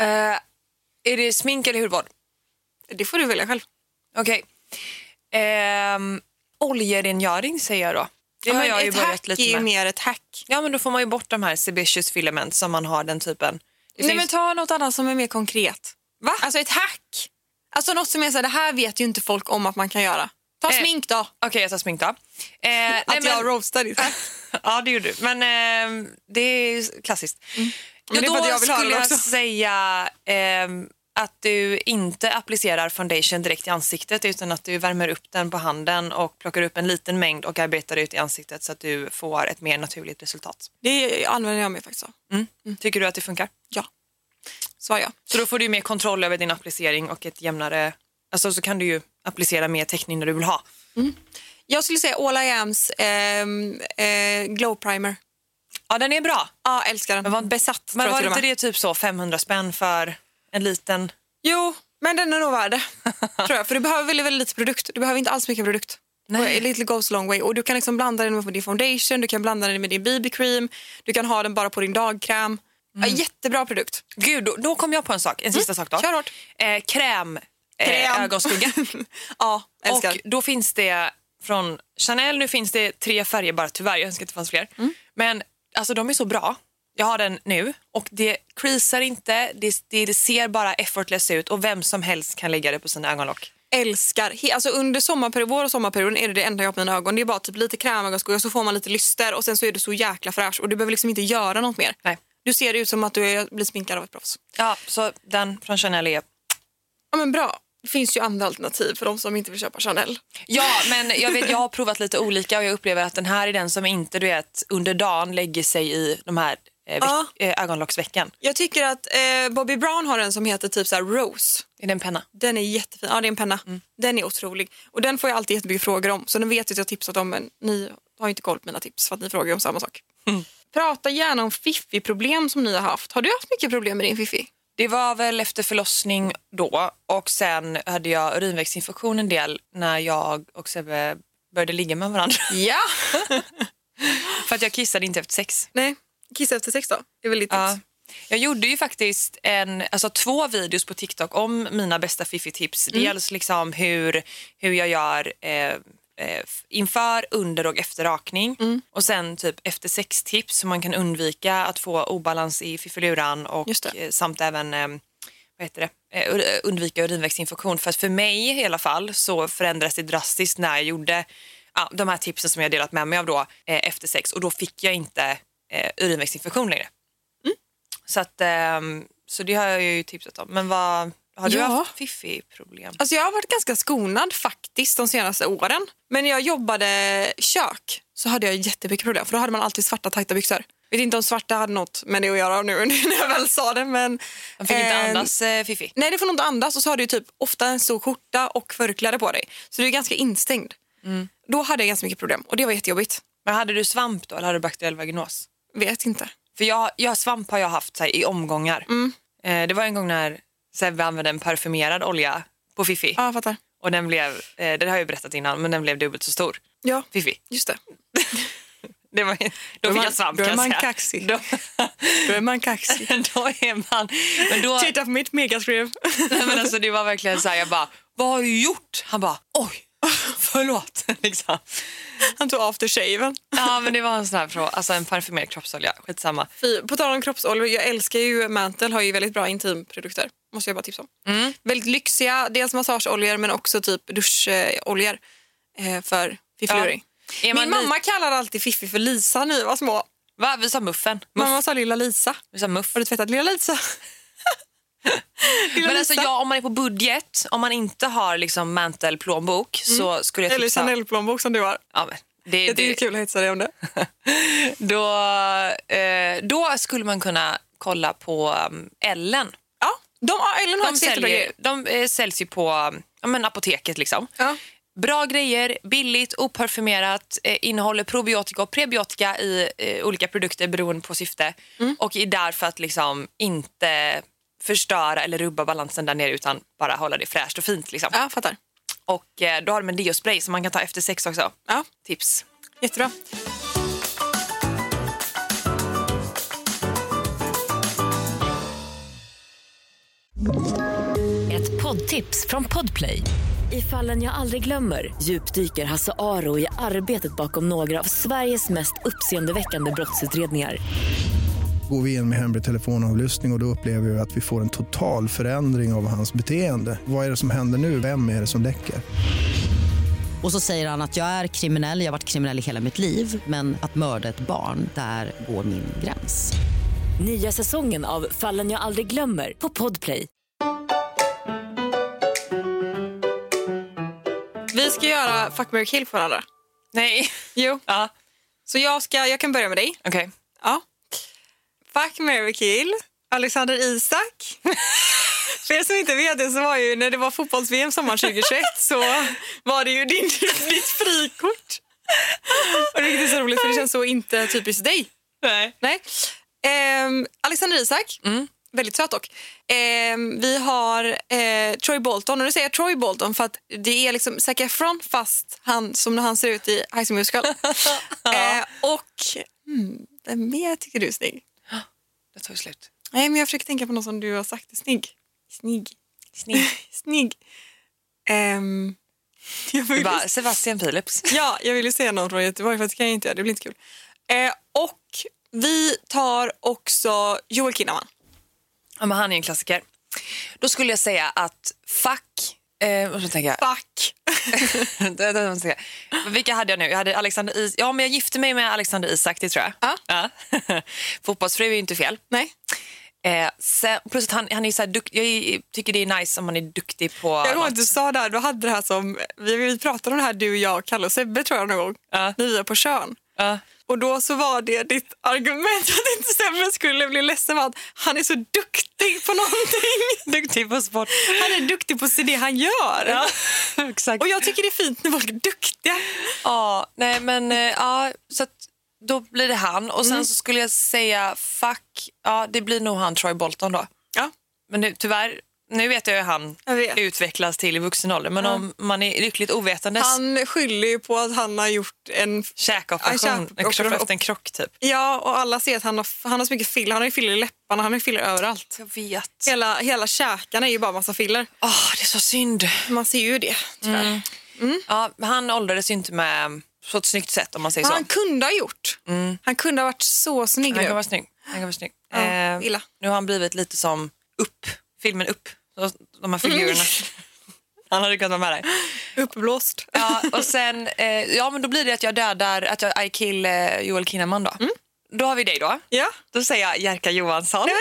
[SPEAKER 2] Eh, är det smink eller hudvård?
[SPEAKER 3] Det får du välja själv.
[SPEAKER 2] Okej. Ehm, oljerengöring säger jag då. Det har
[SPEAKER 3] men
[SPEAKER 2] jag ju
[SPEAKER 3] ett
[SPEAKER 2] börjat
[SPEAKER 3] hack
[SPEAKER 2] lite
[SPEAKER 3] är ju
[SPEAKER 2] med.
[SPEAKER 3] mer ett hack.
[SPEAKER 2] Ja, men då får man ju bort de här sebaceous filament som man har den typen. Det
[SPEAKER 3] Nej,
[SPEAKER 2] finns-
[SPEAKER 3] men ta något annat som är mer konkret. Va? Alltså ett hack. Alltså något som är så här, det här vet ju inte folk om att man kan göra. Ta
[SPEAKER 2] Eh,
[SPEAKER 3] smink då.
[SPEAKER 2] Okej, jag tar smink då. Eh, nej,
[SPEAKER 3] att jag roastar ditt hack.
[SPEAKER 2] ja, det gjorde du. Men ehm, det är ju klassiskt.
[SPEAKER 3] Mm. Men det är
[SPEAKER 2] ja,
[SPEAKER 3] för
[SPEAKER 2] då
[SPEAKER 3] att jag vill höra
[SPEAKER 2] skulle
[SPEAKER 3] det
[SPEAKER 2] jag
[SPEAKER 3] också.
[SPEAKER 2] säga ehm, att du inte applicerar foundation direkt i ansiktet utan att du värmer upp den på handen och plockar upp en liten mängd och arbetar ut i ansiktet så att du får ett mer naturligt resultat.
[SPEAKER 3] Det använder jag mig faktiskt av.
[SPEAKER 2] Mm. Tycker du att det funkar?
[SPEAKER 3] Ja. Svar ja.
[SPEAKER 2] Så då får du ju mer kontroll över din applicering och ett jämnare... Alltså så kan du ju applicera mer täckning när du vill ha.
[SPEAKER 3] Jag skulle säga All I Ams ehm, eh, glow primer.
[SPEAKER 2] Ja, den är bra.
[SPEAKER 3] Ja, älskar den.
[SPEAKER 2] Men var,
[SPEAKER 3] Besatt
[SPEAKER 2] men
[SPEAKER 3] tror jag
[SPEAKER 2] var
[SPEAKER 3] till
[SPEAKER 2] inte
[SPEAKER 3] och med.
[SPEAKER 2] det typ så 500 spänn för en liten...
[SPEAKER 3] Jo, men den är nog värd det. [LAUGHS] tror jag. För du behöver väldigt, väldigt lite produkt. Du behöver inte alls mycket produkt. Nej. Little goes a long way. Och du kan liksom blanda den med din foundation, du kan blanda den med din BB-cream, du kan ha den bara på din dagkräm.
[SPEAKER 2] Mm.
[SPEAKER 3] Ja, jättebra produkt.
[SPEAKER 2] Gud, då, då kom jag på en sak. En sista sak då.
[SPEAKER 3] Mm. kör hårt.
[SPEAKER 2] Eh, kräm,
[SPEAKER 3] Kräm.
[SPEAKER 2] Eh, ögonskugga.
[SPEAKER 3] ja, [LAUGHS] älskar.
[SPEAKER 2] och då finns det från Chanel, nu finns det tre färger bara tyvärr, jag önskar att det fanns fler.
[SPEAKER 3] Mm.
[SPEAKER 2] Men alltså de är så bra. Jag har den nu och det creasar inte, det, det ser bara effortless ut och vem som helst kan lägga det på sina ögonlock.
[SPEAKER 3] älskar. He- Alltså under sommarperiod, vår och sommarperioden är det det enda jag har på mina ögon. Det är bara typ lite krämögonskugga så får man lite lyster och sen så är du så jäkla fräsch och du behöver liksom inte göra något mer.
[SPEAKER 2] Nej.
[SPEAKER 3] Du ser ut som att du är, blir sminkad av ett proffs.
[SPEAKER 2] Ja, så den från Chanel är...
[SPEAKER 3] Ja men bra. Det finns ju andra alternativ för de som inte vill köpa Chanel.
[SPEAKER 2] Ja, men jag, vet, jag har provat lite olika och jag upplever att den här är den som inte du vet, under dagen lägger sig i de här eh, veck-
[SPEAKER 3] Ja.
[SPEAKER 2] eh, ögonlocksveckan.
[SPEAKER 3] Jag tycker att eh, Bobby Brown har en som heter typ så här Rose.
[SPEAKER 2] Är det en penna?
[SPEAKER 3] Den är jättefin. Ja, det är en penna. Den är otrolig. Och den får jag alltid jättemycket frågor om. Så den vet jag att jag har tipsat om, men ni har ju inte koll på mina tips för att ni frågar ju om samma sak. Prata gärna om fiffi-problem som ni har haft. Har du haft mycket problem med din fiffi?
[SPEAKER 2] Det var väl efter förlossning då och sen hade jag urinvägsinfektion en del när jag och Sebbe började ligga med varandra.
[SPEAKER 3] Ja.
[SPEAKER 2] [LAUGHS] För att jag kissade inte efter sex.
[SPEAKER 3] Nej, kissa efter sex då. Det är väl lite
[SPEAKER 2] Ja. Jag gjorde ju faktiskt en, alltså två videos på TikTok om mina bästa fiffi-tips.
[SPEAKER 3] Mm.
[SPEAKER 2] Dels liksom hur, hur jag gör eh, eh, f- inför, under och efter rakning.
[SPEAKER 3] Mm.
[SPEAKER 2] Och sen typ efter sex-tips som man kan undvika att få obalans i fiffiluran och
[SPEAKER 3] Just det.
[SPEAKER 2] eh, samt även eh, vad heter det? Eh, ur- undvika urinvägsinfektion. För att för mig i alla fall så förändras det drastiskt när jag gjorde ja, de här tipsen som jag delat med mig av då eh, efter sex och då fick jag inte eh, urinvägsinfektion längre. Så, att, ehm, så det har jag ju tipsat om. Men vad, har du
[SPEAKER 3] Ja.
[SPEAKER 2] haft fiffig problem?
[SPEAKER 3] Alltså jag har varit ganska skonad faktiskt de senaste åren. Men när jag jobbade kök så hade jag jättemycket problem för då hade man alltid svarta tajta byxor. Vet inte om svarta hade något med det att göra nu [LAUGHS] när jag väl sa det. Men,
[SPEAKER 2] Man fick inte
[SPEAKER 3] eh,
[SPEAKER 2] andas eh, fiffi.
[SPEAKER 3] Nej, det får nog inte andas och så har du ju typ ofta en stor skjorta och förkläde på dig. Så du är ganska instängd.
[SPEAKER 2] Mm.
[SPEAKER 3] Då hade jag ganska mycket problem och det var jättejobbigt.
[SPEAKER 2] Men hade du svamp då eller hade du bakteriell vaginos?
[SPEAKER 3] Vet inte.
[SPEAKER 2] För jag, jag, svamp har jag haft så här, i omgångar.
[SPEAKER 3] Mm.
[SPEAKER 2] Eh, det var en gång när Sebbe använde en parfymerad olja på fiffi.
[SPEAKER 3] Ja, jag fattar.
[SPEAKER 2] Och den blev, eh, det har jag ju berättat innan, men den blev dubbelt så stor.
[SPEAKER 3] Ja,
[SPEAKER 2] Fiffi.
[SPEAKER 3] just det.
[SPEAKER 2] Det var, då
[SPEAKER 3] är
[SPEAKER 2] fick
[SPEAKER 3] man-
[SPEAKER 2] jag svamp
[SPEAKER 3] då är
[SPEAKER 2] kan jag
[SPEAKER 3] man
[SPEAKER 2] säga.
[SPEAKER 3] kaxig.
[SPEAKER 2] Då,
[SPEAKER 3] Då är man kaxig.
[SPEAKER 2] [LAUGHS] då är man... Men då,
[SPEAKER 3] [LAUGHS] Titta på mitt megaskrev.
[SPEAKER 2] [LAUGHS] Nej, men alltså, det var verkligen så här, jag bara, vad har du gjort? Han bara, oj,
[SPEAKER 3] [LAUGHS]
[SPEAKER 2] förlåt. [LAUGHS] liksom.
[SPEAKER 3] Han tog aftershaven.
[SPEAKER 2] Ja, men det var en sån här fråga, alltså en parfymerad kroppsolja, skitsamma.
[SPEAKER 3] Fy, på tal om kroppsolja, jag älskar ju Mantel, har ju väldigt bra intimprodukter. Måste jag bara tipsa om.
[SPEAKER 2] Mm.
[SPEAKER 3] Väldigt lyxiga, dels massageoljor men också typ duscholjor eh, för fiffluring.
[SPEAKER 2] Är man
[SPEAKER 3] Min
[SPEAKER 2] li-
[SPEAKER 3] mamma kallade alltid Fiffi för Lisa när vi var små.
[SPEAKER 2] Va? Vi sa muffen. Muff.
[SPEAKER 3] Mamma sa lilla Lisa.
[SPEAKER 2] Vi sa muff.
[SPEAKER 3] Har du tvättat
[SPEAKER 2] [LAUGHS]
[SPEAKER 3] lilla Lisa? lilla
[SPEAKER 2] Men alltså,
[SPEAKER 3] Lisa.
[SPEAKER 2] ja, om man är på budget, om man inte har liksom mantel, plånbok så skulle jag
[SPEAKER 3] Mm. Eller
[SPEAKER 2] tipsa...
[SPEAKER 3] Chanel-plånbok som du har.
[SPEAKER 2] Ja, men, det,
[SPEAKER 3] Jag tycker det
[SPEAKER 2] det,
[SPEAKER 3] är kul att hetsa dig om det.
[SPEAKER 2] då, eh, då skulle man kunna kolla på um, Ellen.
[SPEAKER 3] Ja, de, ja, Ellen har
[SPEAKER 2] De,
[SPEAKER 3] också jättebra
[SPEAKER 2] säljer,
[SPEAKER 3] grejer.
[SPEAKER 2] de eh, säljs ju på ja, men um, apoteket. liksom.
[SPEAKER 3] Ja.
[SPEAKER 2] Bra grejer, billigt, oparfumerat, eh, innehåller probiotika och prebiotika i eh, olika produkter beroende på syfte och är där för att liksom inte förstöra eller rubba balansen där nere utan bara hålla det fräscht och fint. Liksom.
[SPEAKER 3] Ja, fattar.
[SPEAKER 2] Och eh, då har de en deospray som man kan ta efter sex också.
[SPEAKER 3] Ja,
[SPEAKER 2] Tips.
[SPEAKER 3] jättebra.
[SPEAKER 1] Ett poddtips från Podplay. I fallen jag aldrig glömmer djupdyker Hasse Aro i arbetet bakom några av Sveriges mest uppseendeväckande brottsutredningar.
[SPEAKER 4] Går vi in med hemlig telefonavlyssning och, och då upplever vi att vi får en total förändring av hans beteende. Vad är det som händer nu? Vem är det som läcker?
[SPEAKER 5] Och så säger han att jag är kriminell, jag har varit kriminell i hela mitt liv men att mörda ett barn, där går min gräns.
[SPEAKER 1] Nya säsongen av Fallen jag aldrig glömmer på Podplay.
[SPEAKER 3] Vi ska göra fuck, marry, kill för varandra.
[SPEAKER 2] Nej.
[SPEAKER 3] Jo.
[SPEAKER 2] Ja,
[SPEAKER 3] Så jag, ska, jag kan börja med dig.
[SPEAKER 2] okej.
[SPEAKER 3] Ja. Fuck, marry, kill. Alexander [LAUGHS] Isak. För er som inte vet det så var ju när det var fotbolls-VM sommaren 2021 så var det ju din, [LAUGHS] ditt frikort. Och det är inte så roligt för det känns så inte typiskt dig.
[SPEAKER 2] Nej.
[SPEAKER 3] Nej. Ehm, Alexander Isak. Väldigt söt dock. Ehm, vi har eh, Troy Bolton. Och nu säger jag Troy Bolton för att det är liksom Zac Efron fast han, som när han ser ut i High School Musical. Ehm, och mm, vem mer tycker du är snygg?
[SPEAKER 2] Det tog slut.
[SPEAKER 3] Nej, men jag försöker tänka på någon som du har sagt är snygg. Snygg.
[SPEAKER 2] Snygg.
[SPEAKER 3] snygg. Ehm, jag vill,
[SPEAKER 2] Bara, Sebastian Philips.
[SPEAKER 3] ja, jag ville säga någon från Göteborg för det kan jag inte göra. Det blir inte kul. Eh, och vi tar också Joel Kinnaman.
[SPEAKER 2] Ja, men han är en klassiker. Då skulle jag säga att fuck... Eh, och så tänker jag,
[SPEAKER 3] Fuck!
[SPEAKER 2] [LAUGHS] det, det måste jag säga. Vilka hade jag nu? Jag hade Alexander Is ja, men jag gifte mig med Alexander Isak, det tror jag.
[SPEAKER 3] Ja.
[SPEAKER 2] Ja. [LAUGHS] Fotbollsfru är ju inte fel.
[SPEAKER 3] Nej.
[SPEAKER 2] Eh, sen, plus att han, han är ju så här dukt, jag är- tycker det är nice om man är duktig på...
[SPEAKER 3] Jag kommer ihåg
[SPEAKER 2] något.
[SPEAKER 3] att du sa där, du hade det här som, vi, vi pratade om det här du, jag, Kalle och Sebbe tror jag någon gång,
[SPEAKER 2] Ja.
[SPEAKER 3] när vi var på Tjörn.
[SPEAKER 2] Ja.
[SPEAKER 3] Och då så var det ditt argument [LAUGHS] att inte Sebbe skulle bli ledsen var att han är så duktig på någonting.
[SPEAKER 2] [LAUGHS] Duktig på sport.
[SPEAKER 3] Han är duktig på det han gör.
[SPEAKER 2] Ja, [LAUGHS] exakt.
[SPEAKER 3] Och jag tycker det är fint när folk är duktiga.
[SPEAKER 2] Ja, nej men eh, ja, så att då blir det han. Och sen
[SPEAKER 3] Mm.
[SPEAKER 2] så skulle jag säga fuck, ja det blir nog han Troy Bolton då.
[SPEAKER 3] Ja.
[SPEAKER 2] Men nu, tyvärr, nu vet jag hur han
[SPEAKER 3] Jag vet.
[SPEAKER 2] utvecklas till i vuxen ålder. Men om man är lyckligt ovetandes, han...
[SPEAKER 3] Han skyller ju på att han har gjort en...
[SPEAKER 2] käkoperation,
[SPEAKER 3] Ja,
[SPEAKER 2] en
[SPEAKER 3] käkoperation.
[SPEAKER 2] kropp efter en krock typ.
[SPEAKER 3] Ja, och alla ser att han har, han har så mycket filler. Han har ju filler i läpparna, han har ju filler överallt.
[SPEAKER 2] Jag vet.
[SPEAKER 3] Hela, hela käkarna är ju bara massa filler. Mm.
[SPEAKER 2] Åh, det är så synd.
[SPEAKER 3] Man ser ju det, tyvärr.
[SPEAKER 2] Ja, men han åldrades ju inte med på ett snyggt sätt om man säger
[SPEAKER 3] Vad
[SPEAKER 2] så.
[SPEAKER 3] han kunde ha gjort. Han kunde Mm. ha varit så snygg
[SPEAKER 2] Han kan
[SPEAKER 3] nu.
[SPEAKER 2] vara snygg. Han kan vara snygg. Eh,
[SPEAKER 3] Ja, illa.
[SPEAKER 2] Nu har han blivit lite som Upp, filmen Upp. De här figurerna.
[SPEAKER 3] [LAUGHS]
[SPEAKER 2] Han hade kunnat vara med där.
[SPEAKER 3] Uppblåst.
[SPEAKER 2] Ja, och sen, eh, ja men då blir det att jag dödar, att jag I kill eh, Joel Kinnaman då.
[SPEAKER 3] Mm.
[SPEAKER 2] Då har vi dig då.
[SPEAKER 3] Ja.
[SPEAKER 2] Då säger jag Jerka Johansson.
[SPEAKER 3] Men,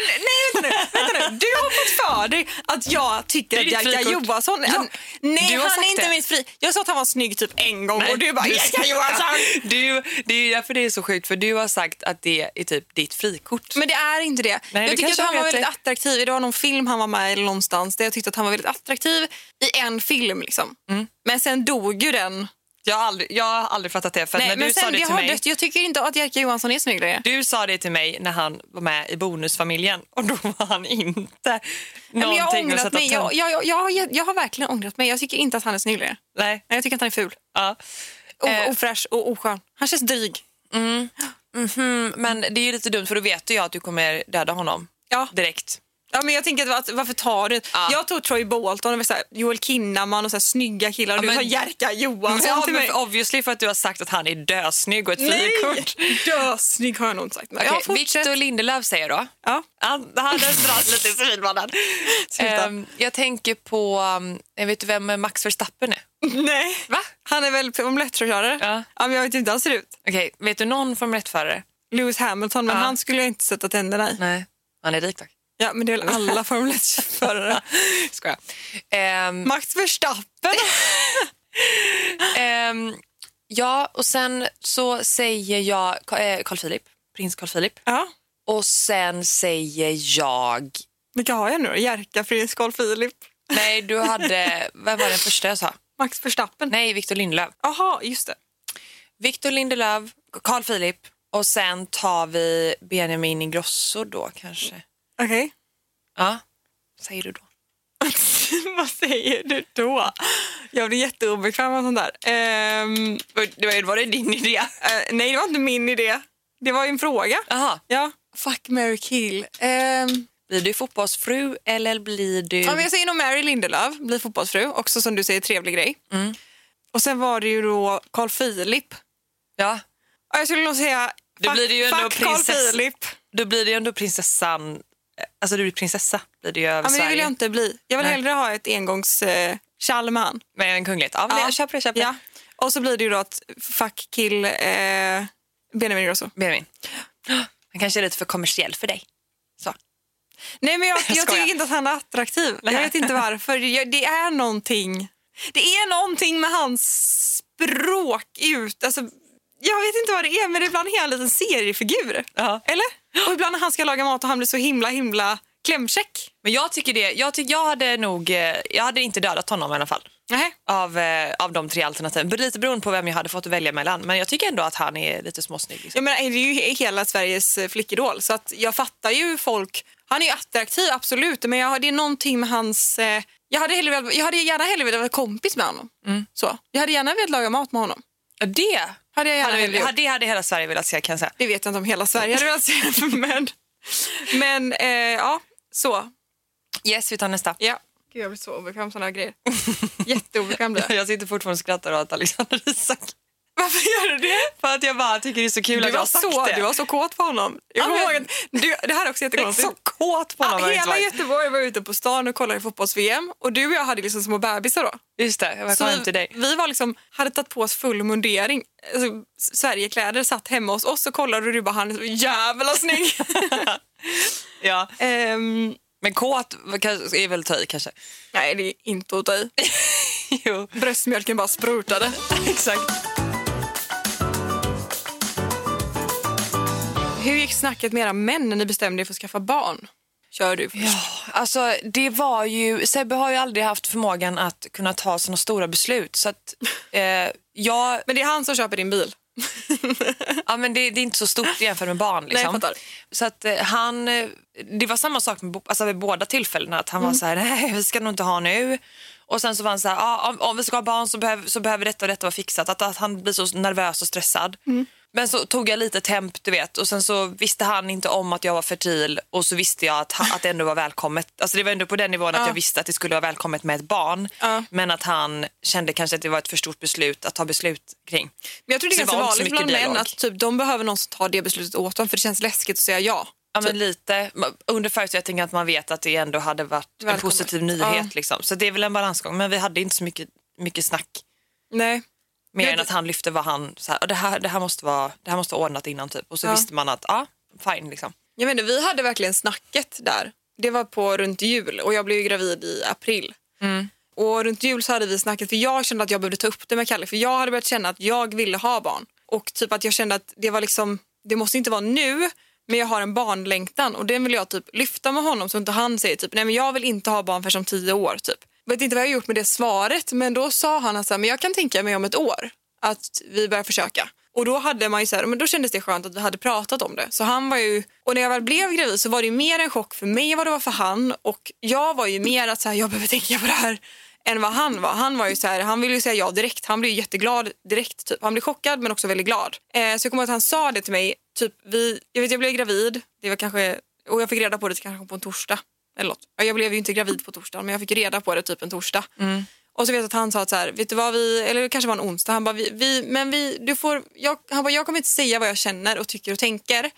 [SPEAKER 3] nej, vänta nu, vänta nu. Du har fått för dig att jag tycker
[SPEAKER 2] är
[SPEAKER 3] att
[SPEAKER 2] ditt
[SPEAKER 3] Jerka
[SPEAKER 2] frikort.
[SPEAKER 3] Johansson... Han, nej,
[SPEAKER 2] du har
[SPEAKER 3] han
[SPEAKER 2] sagt
[SPEAKER 3] är inte
[SPEAKER 2] det.
[SPEAKER 3] mitt fri. Jag sa att han var snygg typ en gång och du bara Jerka
[SPEAKER 2] ska-
[SPEAKER 3] Johansson.
[SPEAKER 2] [LAUGHS] Du, det är ju därför det är så sjukt, för du har sagt att det är typ ditt frikort.
[SPEAKER 3] Men det är inte det.
[SPEAKER 2] Nej, du
[SPEAKER 3] jag tycker att
[SPEAKER 2] kanske
[SPEAKER 3] han var
[SPEAKER 2] vet
[SPEAKER 3] väldigt
[SPEAKER 2] det.
[SPEAKER 3] attraktiv. Det var någon film han var med i någonstans där jag tyckte att han var väldigt attraktiv i en film. liksom.
[SPEAKER 2] Mm.
[SPEAKER 3] Men sen dog ju den.
[SPEAKER 2] Jag har aldrig, jag har aldrig fattat det, för
[SPEAKER 3] Nej,
[SPEAKER 2] när
[SPEAKER 3] men
[SPEAKER 2] du sa
[SPEAKER 3] sen,
[SPEAKER 2] det
[SPEAKER 3] jag,
[SPEAKER 2] till
[SPEAKER 3] har
[SPEAKER 2] mig...
[SPEAKER 3] dött. jag tycker inte att Jerka Johansson är snygg längre.
[SPEAKER 2] Du sa det till mig när han var med i Bonusfamiljen och då var han inte
[SPEAKER 3] Nej, men jag har
[SPEAKER 2] någonting att
[SPEAKER 3] ångrat
[SPEAKER 2] sätta
[SPEAKER 3] mig.
[SPEAKER 2] tungt.
[SPEAKER 3] Jag, jag, jag, jag, har- jag har verkligen ångrat mig. Jag tycker inte att han är snygg längre.
[SPEAKER 2] Nej,
[SPEAKER 3] Nej, jag tycker att han är ful.
[SPEAKER 2] ja.
[SPEAKER 3] O,
[SPEAKER 2] Eh.
[SPEAKER 3] Ofräsch och oskön. Han känns dryg.
[SPEAKER 2] Mm, Men det är ju lite dumt för då vet ju jag att du kommer döda honom
[SPEAKER 3] Ja.
[SPEAKER 2] direkt.
[SPEAKER 3] Ja, men jag tänker att, varför tar du...
[SPEAKER 2] Ja.
[SPEAKER 3] Jag tog Troy Bolton, och så här, Joel Kinnaman och så här, snygga killar. Och
[SPEAKER 2] Ja,
[SPEAKER 3] du tar
[SPEAKER 2] men-
[SPEAKER 3] Jerka Johansson
[SPEAKER 2] Ja,
[SPEAKER 3] till
[SPEAKER 2] men
[SPEAKER 3] mig.
[SPEAKER 2] för- obviously för att du har sagt att han är dösnygg och ett
[SPEAKER 3] Nej!
[SPEAKER 2] frikort.
[SPEAKER 3] Dösnygg har jag nog inte sagt. Men
[SPEAKER 2] Okej,
[SPEAKER 3] ja, fortsätt.
[SPEAKER 2] Victor Lindelöf säger då.
[SPEAKER 3] Ja.
[SPEAKER 2] Han, han dras lite i civilmannen.
[SPEAKER 3] Sluta.
[SPEAKER 2] Ehm, jag tänker på, um, jag vet du vem Max Verstappen är?
[SPEAKER 3] Nej.
[SPEAKER 2] Va?
[SPEAKER 3] Han är väl omelettförkörare?
[SPEAKER 2] Ja.
[SPEAKER 3] ja, men jag vet inte hur han ser ut.
[SPEAKER 2] Okej, vet du någon Formel 1-förare?
[SPEAKER 3] Lewis Hamilton, men
[SPEAKER 2] Ja.
[SPEAKER 3] han skulle jag inte sätta tänderna i.
[SPEAKER 2] Nej, han är rik dock.
[SPEAKER 3] Ja, men det är väl alla
[SPEAKER 2] [LAUGHS]
[SPEAKER 3] Formel 1-förare.
[SPEAKER 2] Skojar. Ehm,
[SPEAKER 3] Max Verstappen.
[SPEAKER 2] ehm, ja, och sen så säger jag Ka- eh, Carl Philip, prins Carl Philip.
[SPEAKER 3] ja.
[SPEAKER 2] Och sen säger jag
[SPEAKER 3] Vilka har jag nu då? Jerka, Fredrik, Carl Philip.
[SPEAKER 2] Nej, du hade... [LAUGHS] Vem var den första jag sa?
[SPEAKER 3] Max Verstappen?
[SPEAKER 2] Nej, Victor Lindelöf.
[SPEAKER 3] Jaha, just det.
[SPEAKER 2] Victor Lindelöf, Carl Philip och sen tar vi Benjamin Ingrosso då kanske.
[SPEAKER 3] Okej.
[SPEAKER 2] Ja, säger du då.
[SPEAKER 3] [LAUGHS] Vad säger du då? Jag blir jätteobekväm av sånt där. Ehm,
[SPEAKER 2] Det var, var det din
[SPEAKER 3] [LAUGHS]
[SPEAKER 2] idé?
[SPEAKER 3] eh, nej, det var inte min idé. Det var ju en fråga.
[SPEAKER 2] Aha.
[SPEAKER 3] Ja. Fuck, Mary kill. Ehm,
[SPEAKER 2] Blir du fotbollsfru eller blir du...
[SPEAKER 3] ja, men jag säger nog Mary Lindelöf, blir fotbollsfru. Också som du säger, trevlig grej. Och sen var det ju då Carl Philip.
[SPEAKER 2] ja.
[SPEAKER 3] Ja, Jag skulle nog säga
[SPEAKER 2] Det
[SPEAKER 3] fuck,
[SPEAKER 2] blir det ju ändå
[SPEAKER 3] fuck Carl
[SPEAKER 2] prinsess-
[SPEAKER 3] Philip.
[SPEAKER 2] Då blir det ju ändå prinsessan... Alltså du blir prinsessa blir det ju över
[SPEAKER 3] Ja, men det
[SPEAKER 2] Sverige.
[SPEAKER 3] vill jag inte bli. Jag vill
[SPEAKER 2] Nej.
[SPEAKER 3] hellre ha ett engångs eh, tjall med han.
[SPEAKER 2] Med en kunglighet. Ja, men jag köper det. Köper det.
[SPEAKER 3] Ja. Och så blir det ju då att fuck kill eh, Benjamin Ingrosso.
[SPEAKER 2] Benjamin. Han kanske är lite för kommersiell för dig. Så.
[SPEAKER 3] Nej men [LAUGHS] jag, jag,
[SPEAKER 2] skojar.
[SPEAKER 3] tycker inte att han är attraktiv. Jag vet inte varför. Jag, det är någonting. Det är någonting med hans språk ut. Alltså, jag vet inte vad det är men ibland är han en liten seriefigur.
[SPEAKER 2] Ja.
[SPEAKER 3] Eller? Och ibland när han ska laga mat och han blir så himla himla klämkäck.
[SPEAKER 2] Men jag tycker det. Jag, tycker jag hade nog... eh, Jag hade inte dödat honom i alla fall.
[SPEAKER 3] Nej.
[SPEAKER 2] Av, eh, av de tre alternativen. Det är Lite beroende på vem jag hade fått välja mellan. Men jag tycker ändå att han är lite småsnygg. Liksom.
[SPEAKER 3] Jag menar, det är ju he- hela Sveriges eh, flickidol så att jag fattar ju folk. Han är ju attraktiv absolut men jag, har- det är någonting med hans... Eh, jag, hade hellre, velat- jag hade gärna hellre velat vara kompis med honom.
[SPEAKER 2] Mm.
[SPEAKER 3] Så. Jag hade gärna velat laga mat med honom.
[SPEAKER 2] Ja, Det
[SPEAKER 3] Hade jag gärna velat
[SPEAKER 2] hade,
[SPEAKER 3] gjort.
[SPEAKER 2] hade, det hade hela Sverige velat se kan jag säga.
[SPEAKER 3] Det vet jag inte om hela Sverige hade velat se. [LAUGHS] Men, men eh, ja, så.
[SPEAKER 2] Yes, vi tar nästa.
[SPEAKER 3] Ja. Gud, jag blir så obekväm sådana här grejer. Jätteobekväm blir jag.
[SPEAKER 2] [LAUGHS] Jag sitter fortfarande och skrattar åt Alexander Isak.
[SPEAKER 3] [LAUGHS] Varför gör du det?
[SPEAKER 2] För att jag bara tycker det är så kul
[SPEAKER 3] Du
[SPEAKER 2] att jag
[SPEAKER 3] var,
[SPEAKER 2] har sagt
[SPEAKER 3] så,
[SPEAKER 2] det.
[SPEAKER 3] du var så kåt på honom. Jag
[SPEAKER 2] Ja,
[SPEAKER 3] kommer ihåg
[SPEAKER 2] men-
[SPEAKER 3] att du, det här är också
[SPEAKER 2] Jag är
[SPEAKER 3] jättekonstigt.
[SPEAKER 2] så kåt på honom.
[SPEAKER 3] Ja,
[SPEAKER 2] har jag inte
[SPEAKER 3] hela
[SPEAKER 2] varit.
[SPEAKER 3] Göteborg var ute på stan och kollade fotbolls-VM och du och jag hade liksom små bebisar då.
[SPEAKER 2] Just det, jag kom hem till dig.
[SPEAKER 3] vi var liksom, hade tagit på oss full mundering. Alltså, S- Sverigekläder satt hemma hos oss och kollade och du bara han är så jävla
[SPEAKER 2] [LAUGHS]
[SPEAKER 3] snygg.
[SPEAKER 2] Ja.
[SPEAKER 3] Ehm,
[SPEAKER 2] Men kåt var kanske- är väl att ta i kanske.
[SPEAKER 3] nej, det är inte att ta i.
[SPEAKER 2] [LAUGHS] jo,
[SPEAKER 3] Bröstmjölken bara sprutade.
[SPEAKER 2] [LAUGHS] exakt.
[SPEAKER 3] Hur gick snacket med era män när ni bestämde er för att skaffa barn? Kör du först.
[SPEAKER 2] Alltså, det var ju, Sebbe har ju aldrig haft förmågan att kunna ta sådana stora beslut. Så att, eh, jag,
[SPEAKER 3] Men det är han som köper din bil.
[SPEAKER 2] [LAUGHS] ja, men det, det är inte så stort jämfört med barn. Liksom.
[SPEAKER 3] jag fattar.
[SPEAKER 2] så att, eh, han, eh, det var samma sak med, bo- alltså, vid båda tillfällena. Att han
[SPEAKER 3] Mm.
[SPEAKER 2] var så här, nej vi ska nog inte ha nu. Och sen så var han så här, ah, om, om vi ska ha barn så behöver, så behöver detta och detta vara fixat. Att, att han blir så nervös och stressad.
[SPEAKER 3] Mm.
[SPEAKER 2] Men så tog jag lite temp, du vet. Och sen så visste han inte om att jag var fertil och så visste jag att, han- att det ändå var välkommet. Alltså det var ändå på den nivån att jag visste att det skulle vara välkommet med ett barn.
[SPEAKER 3] Ja.
[SPEAKER 2] Men att han kände kanske att det var ett för stort beslut att ta beslut kring.
[SPEAKER 3] Men jag tror det är
[SPEAKER 2] Så det
[SPEAKER 3] ganska
[SPEAKER 2] var inte så
[SPEAKER 3] vanligt bland
[SPEAKER 2] mycket
[SPEAKER 3] män
[SPEAKER 2] dialog.
[SPEAKER 3] att typ, de behöver någon som tar det beslutet åt dem för det känns läskigt att säga ja.
[SPEAKER 2] Ja, men lite. Under förutsättning att man vet att det ändå hade varit en
[SPEAKER 3] Välkommen.
[SPEAKER 2] positiv nyhet.
[SPEAKER 3] Ja.
[SPEAKER 2] Liksom. Så det är väl en balansgång. Men vi hade inte så mycket, mycket snack.
[SPEAKER 3] Nej.
[SPEAKER 2] Mer
[SPEAKER 3] Ja,
[SPEAKER 2] än
[SPEAKER 3] det-
[SPEAKER 2] att han lyfte vad han... Så här, "Ja, det, här, det, här måste vara, det här måste vara ordnat innan typ. Och så
[SPEAKER 3] Ja.
[SPEAKER 2] visste man att, ja, fine liksom.
[SPEAKER 3] Jag menar, vi hade verkligen snacket där. Det var på runt jul och jag blev ju gravid i april. Och runt jul så hade vi snacket för jag kände att jag behövde ta upp det med Kalle för jag hade börjat känna att jag ville ha barn. Och typ att jag kände att det var liksom, det måste inte vara nu men jag har en barnlängtan och den vill jag typ lyfta med honom så inte han säger typ nej men jag vill inte ha barn förrän om tio år typ. Vet inte vad jag har gjort med det svaret men då sa han att så här, men jag kan tänka mig om ett år att vi börjar försöka. Och då, hade man ju så här, men då kändes det skönt att vi hade pratat om det. Så han var ju, och när jag väl blev gravid så var det ju mer en chock för mig än vad det var för han. Och jag var ju mer att så här, jag behöver tänka på det här än vad han var. Han var ju så här, han ville ju säga ja direkt. Han blev ju jätteglad direkt. Typ. Han blev chockad men också väldigt glad. Eh, så jag kommer ihåg att han sa det till mig. Typ, vi, jag vet jag blev gravid. Det var kanske, och jag fick reda på det kanske på en torsdag. Eller något. Ja, Jag blev ju inte gravid på torsdagen men jag fick reda på det typ en torsdag. Och så vet jag att han sa att så här, vet du vad vi, eller det kanske var en onsdag, han bara, vi, vi, men vi, du får, jag, han bara, jag kommer inte säga vad jag känner och tycker och tänker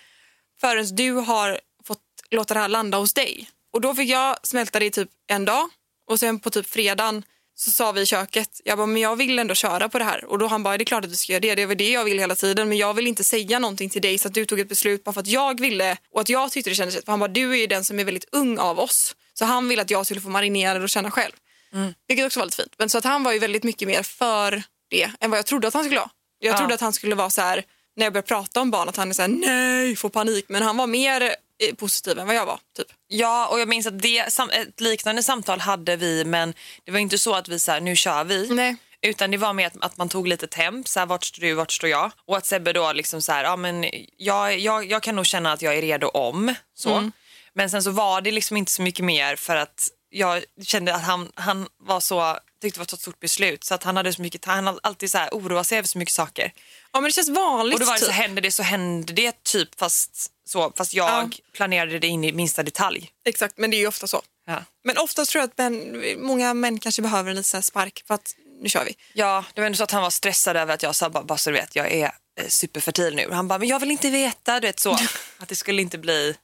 [SPEAKER 3] förrän du har fått låta det här landa hos dig. Och då fick jag smälta det i typ en dag och sen på typ fredagen så sa vi i köket, jag bara, men jag vill ändå köra på det här. Och då han bara, det är klart att du ska göra det, det var det jag ville hela tiden men jag vill inte säga någonting till dig så att du tog ett beslut bara för att jag ville och att jag tyckte det kändes rätt. För han bara, du är ju den som är väldigt ung av oss. Så han ville att jag skulle få marinera det och känna själv.
[SPEAKER 2] Mm.
[SPEAKER 3] Vilket också var lite fint. Men så att han var ju väldigt mycket mer för det än vad jag trodde att han skulle vara. Jag trodde att han skulle vara så här, när jag började prata om barn, att han är så här, nej, får panik. Men han var mer eh, positiv än vad jag var. Typ.
[SPEAKER 2] Ja, och jag minns att det, sam- ett liknande samtal hade vi men det var inte så att vi så här, nu kör vi.
[SPEAKER 3] Nej.
[SPEAKER 2] Utan det var mer att, att man tog lite temp, så här, vart står du, vart står jag? Och att Sebbe då liksom så här, ja men jag, jag, jag kan nog känna att jag är redo om. Så.
[SPEAKER 3] Mm.
[SPEAKER 2] Men sen så var det liksom inte så mycket mer för att jag kände att han, han var så, tyckte det var ett så stort beslut så att han hade så mycket, han hade alltid så här, oroade sig över så mycket saker.
[SPEAKER 3] Ja, men det känns vanligt.
[SPEAKER 2] Och då var det så,
[SPEAKER 3] typ.
[SPEAKER 2] händer det så händer det typ fast, så, fast jag
[SPEAKER 3] Ja.
[SPEAKER 2] planerade det in i minsta detalj.
[SPEAKER 3] Exakt, men det är ju ofta så.
[SPEAKER 2] Ja.
[SPEAKER 3] Men oftast tror jag att män, många män kanske behöver en liten så här spark för att nu kör vi.
[SPEAKER 2] Ja, det var ändå så att han var stressad över att jag sa bara, bara så du vet, jag är eh, superfertil nu. Han bara, men jag vill inte veta, du vet
[SPEAKER 3] [LAUGHS]
[SPEAKER 2] så. Att det skulle inte bli...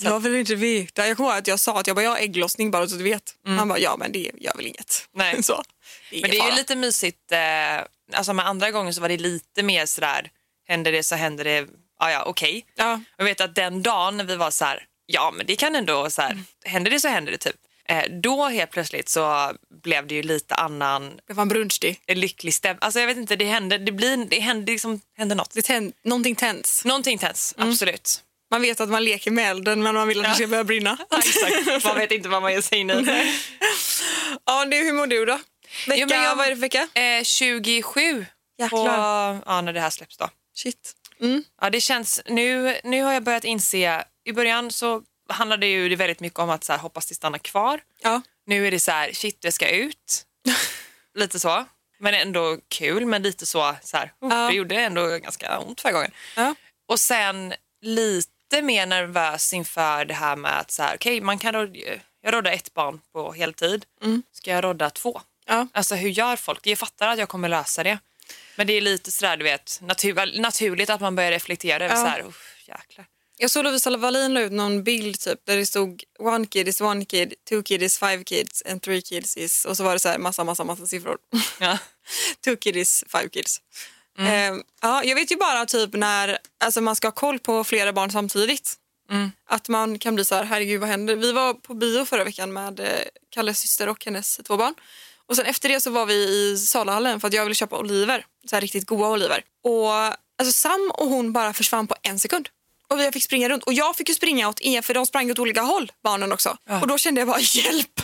[SPEAKER 3] Jag vill inte veta. Jag kommer ihåg att jag sa att jag, bara, jag har ägglossning bara så att du vet. Han bara, ja men det gör väl inget.
[SPEAKER 2] Nej.
[SPEAKER 3] [LAUGHS] Så. Mm. Det
[SPEAKER 2] Men det är ju lite mysigt, eh, alltså med andra gången så var det lite mer sådär, händer det så händer det, ja ja okej.
[SPEAKER 3] Ja.
[SPEAKER 2] Jag vet att den dagen när vi var så här, ja men det kan ändå, så här, händer det så händer det typ. Eh, då helt plötsligt så blev det ju lite annan
[SPEAKER 3] Det var en brunstig.
[SPEAKER 2] lycklig stämning. Alltså jag vet inte, det hände, det blir, det hände, det liksom, hände något.
[SPEAKER 3] Det tänd, någonting tänds.
[SPEAKER 2] Någonting tänds,
[SPEAKER 3] Mm.
[SPEAKER 2] absolut.
[SPEAKER 3] Man vet att man leker med elden men man vill att det ska börja [LAUGHS] brinna.
[SPEAKER 2] Ja, exakt. Man vet inte vad man ger sig in i.
[SPEAKER 3] ja, det, hur mår du då? Vecka,
[SPEAKER 2] Jo, men jag-
[SPEAKER 3] vad är det för vecka?
[SPEAKER 2] Eh, 27 på,
[SPEAKER 3] Jäklar.
[SPEAKER 2] ja, när det här släpps då.
[SPEAKER 3] Shit.
[SPEAKER 2] Ja, det känns, nu, nu har jag börjat inse, i början så handlade ju det väldigt mycket om att så här, hoppas det stannar kvar.
[SPEAKER 3] Ja.
[SPEAKER 2] Nu är det så här, shit jag ska
[SPEAKER 3] [LAUGHS]
[SPEAKER 2] ut. lite så. Men ändå kul, men lite så, så här, oh,
[SPEAKER 3] Ja.
[SPEAKER 2] det gjorde ändå ganska ont förra gången.
[SPEAKER 3] Ja.
[SPEAKER 2] Och sen lite mer nervös inför det här med att så här, okej, man kan råd, jag råddar ett barn på heltid. Ska jag rådda två?
[SPEAKER 3] Mm. Ja.
[SPEAKER 2] Alltså hur gör folk? Jag fattar att jag kommer lösa det. Men det är lite sådär du vet, natur, naturligt att man börjar reflektera över
[SPEAKER 3] Ja.
[SPEAKER 2] så här, uff, jäklar.
[SPEAKER 3] Jag såg Lovisa Wallin la ut någon bild typ, där det stod one kid is one kid, two kid is five kids and three kids is... Och så var det så här massa, massa, massa siffror. [LAUGHS]
[SPEAKER 2] Ja.
[SPEAKER 3] two kid is five kids. Eh, ja, jag vet ju bara typ när alltså, man ska ha koll på flera barn samtidigt. Att man kan bli så här, herregud vad händer? Vi var på bio förra veckan med eh, Kalles syster och hennes två barn. Och sen efter det så var vi i Salahallen för att jag ville köpa oliver. Så här riktigt goda oliver. Och alltså Sam och hon bara försvann på en sekund. Och jag fick springa runt. Och jag fick ju springa åt er för de sprang åt olika håll, barnen också. Och då kände jag bara hjälp!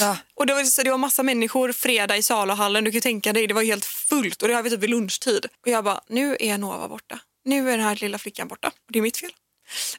[SPEAKER 2] Ja.
[SPEAKER 3] Och det var, så det var massa människor fredag i Salahallen. Du kan ju tänka dig, det var helt fullt. Och det här var typ vid lunchtid. Och jag bara, nu är Nova borta. Nu är den här lilla flickan borta. Och det är mitt fel.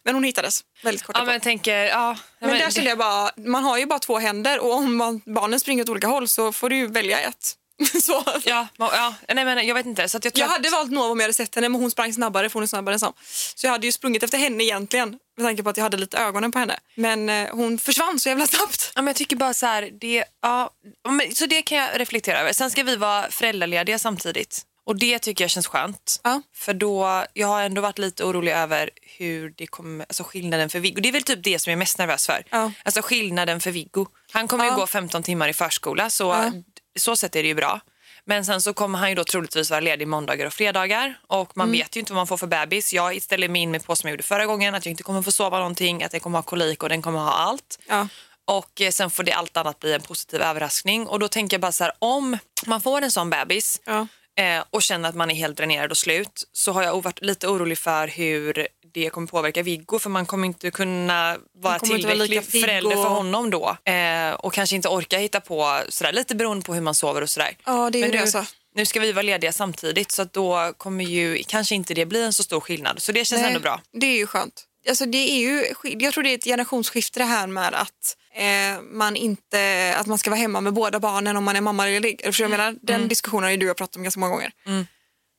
[SPEAKER 3] Men hon hittades väldigt kort
[SPEAKER 2] Ja men
[SPEAKER 3] men,
[SPEAKER 2] jag tänker, ja.
[SPEAKER 3] men, där kände jag bara, man har ju bara två händer och om man, barnen springer åt olika håll så får du ju välja ett. [LAUGHS] så.
[SPEAKER 2] Ja, ma- ja, nej men jag vet inte. Så att jag tror
[SPEAKER 3] Jag hade valt Nova om jag hade sett henne men hon sprang snabbare för hon är snabbare än Sam. Så jag hade ju sprungit efter henne egentligen med tanke på att jag hade lite ögonen på henne. Men eh, hon försvann så jävla snabbt.
[SPEAKER 2] Ja, men jag tycker bara så här, det, ja, men, så det kan jag reflektera över. Sen ska vi vara föräldralediga samtidigt. Och det tycker jag känns skönt.
[SPEAKER 3] Ja.
[SPEAKER 2] För då, jag har ändå varit lite orolig över hur det kommer, alltså skillnaden för Viggo. Det är väl typ det som jag är mest nervös för.
[SPEAKER 3] Ja.
[SPEAKER 2] Alltså skillnaden för Viggo. Han kommer
[SPEAKER 3] Ja.
[SPEAKER 2] ju gå 15 timmar i förskola så så sätt är det ju bra. Men sen så kommer han ju då troligtvis vara ledig måndagar och fredagar och man
[SPEAKER 3] Mm.
[SPEAKER 2] vet ju inte vad man får för bebis. Jag ställer mig in med på som jag gjorde förra gången att jag inte kommer få sova någonting, att jag kommer ha kolik och den kommer ha allt.
[SPEAKER 3] Ja.
[SPEAKER 2] Och eh, sen får det allt annat bli en positiv överraskning. Och då tänker jag bara så här, om man får en sån bebis
[SPEAKER 3] Ja.
[SPEAKER 2] eh, och känner att man är helt dränerad och slut så har jag o- varit lite orolig för hur det kommer påverka Viggo för man kommer inte kunna vara
[SPEAKER 3] kommer inte vara
[SPEAKER 2] tillräcklig
[SPEAKER 3] lika pigg
[SPEAKER 2] förälder
[SPEAKER 3] och-
[SPEAKER 2] för honom då. Eh, och kanske inte orka hitta på sådär, lite beroende på hur man sover och sådär.
[SPEAKER 3] Ja, det är ju
[SPEAKER 2] Men
[SPEAKER 3] det
[SPEAKER 2] nu,
[SPEAKER 3] alltså.
[SPEAKER 2] nu ska vi vara lediga samtidigt så att då kommer ju kanske inte det bli en så stor skillnad. Så det känns
[SPEAKER 3] Nej,
[SPEAKER 2] ändå bra.
[SPEAKER 3] Det är ju skönt. Alltså det är ju, sk- jag tror det är ett generationsskifte det här med att eh, man inte att man ska vara hemma med båda barnen om man är mammaledig. Förstår du vad jag
[SPEAKER 2] Mm.
[SPEAKER 3] menar? Den diskussionen har ju du och jag pratat om ganska många gånger.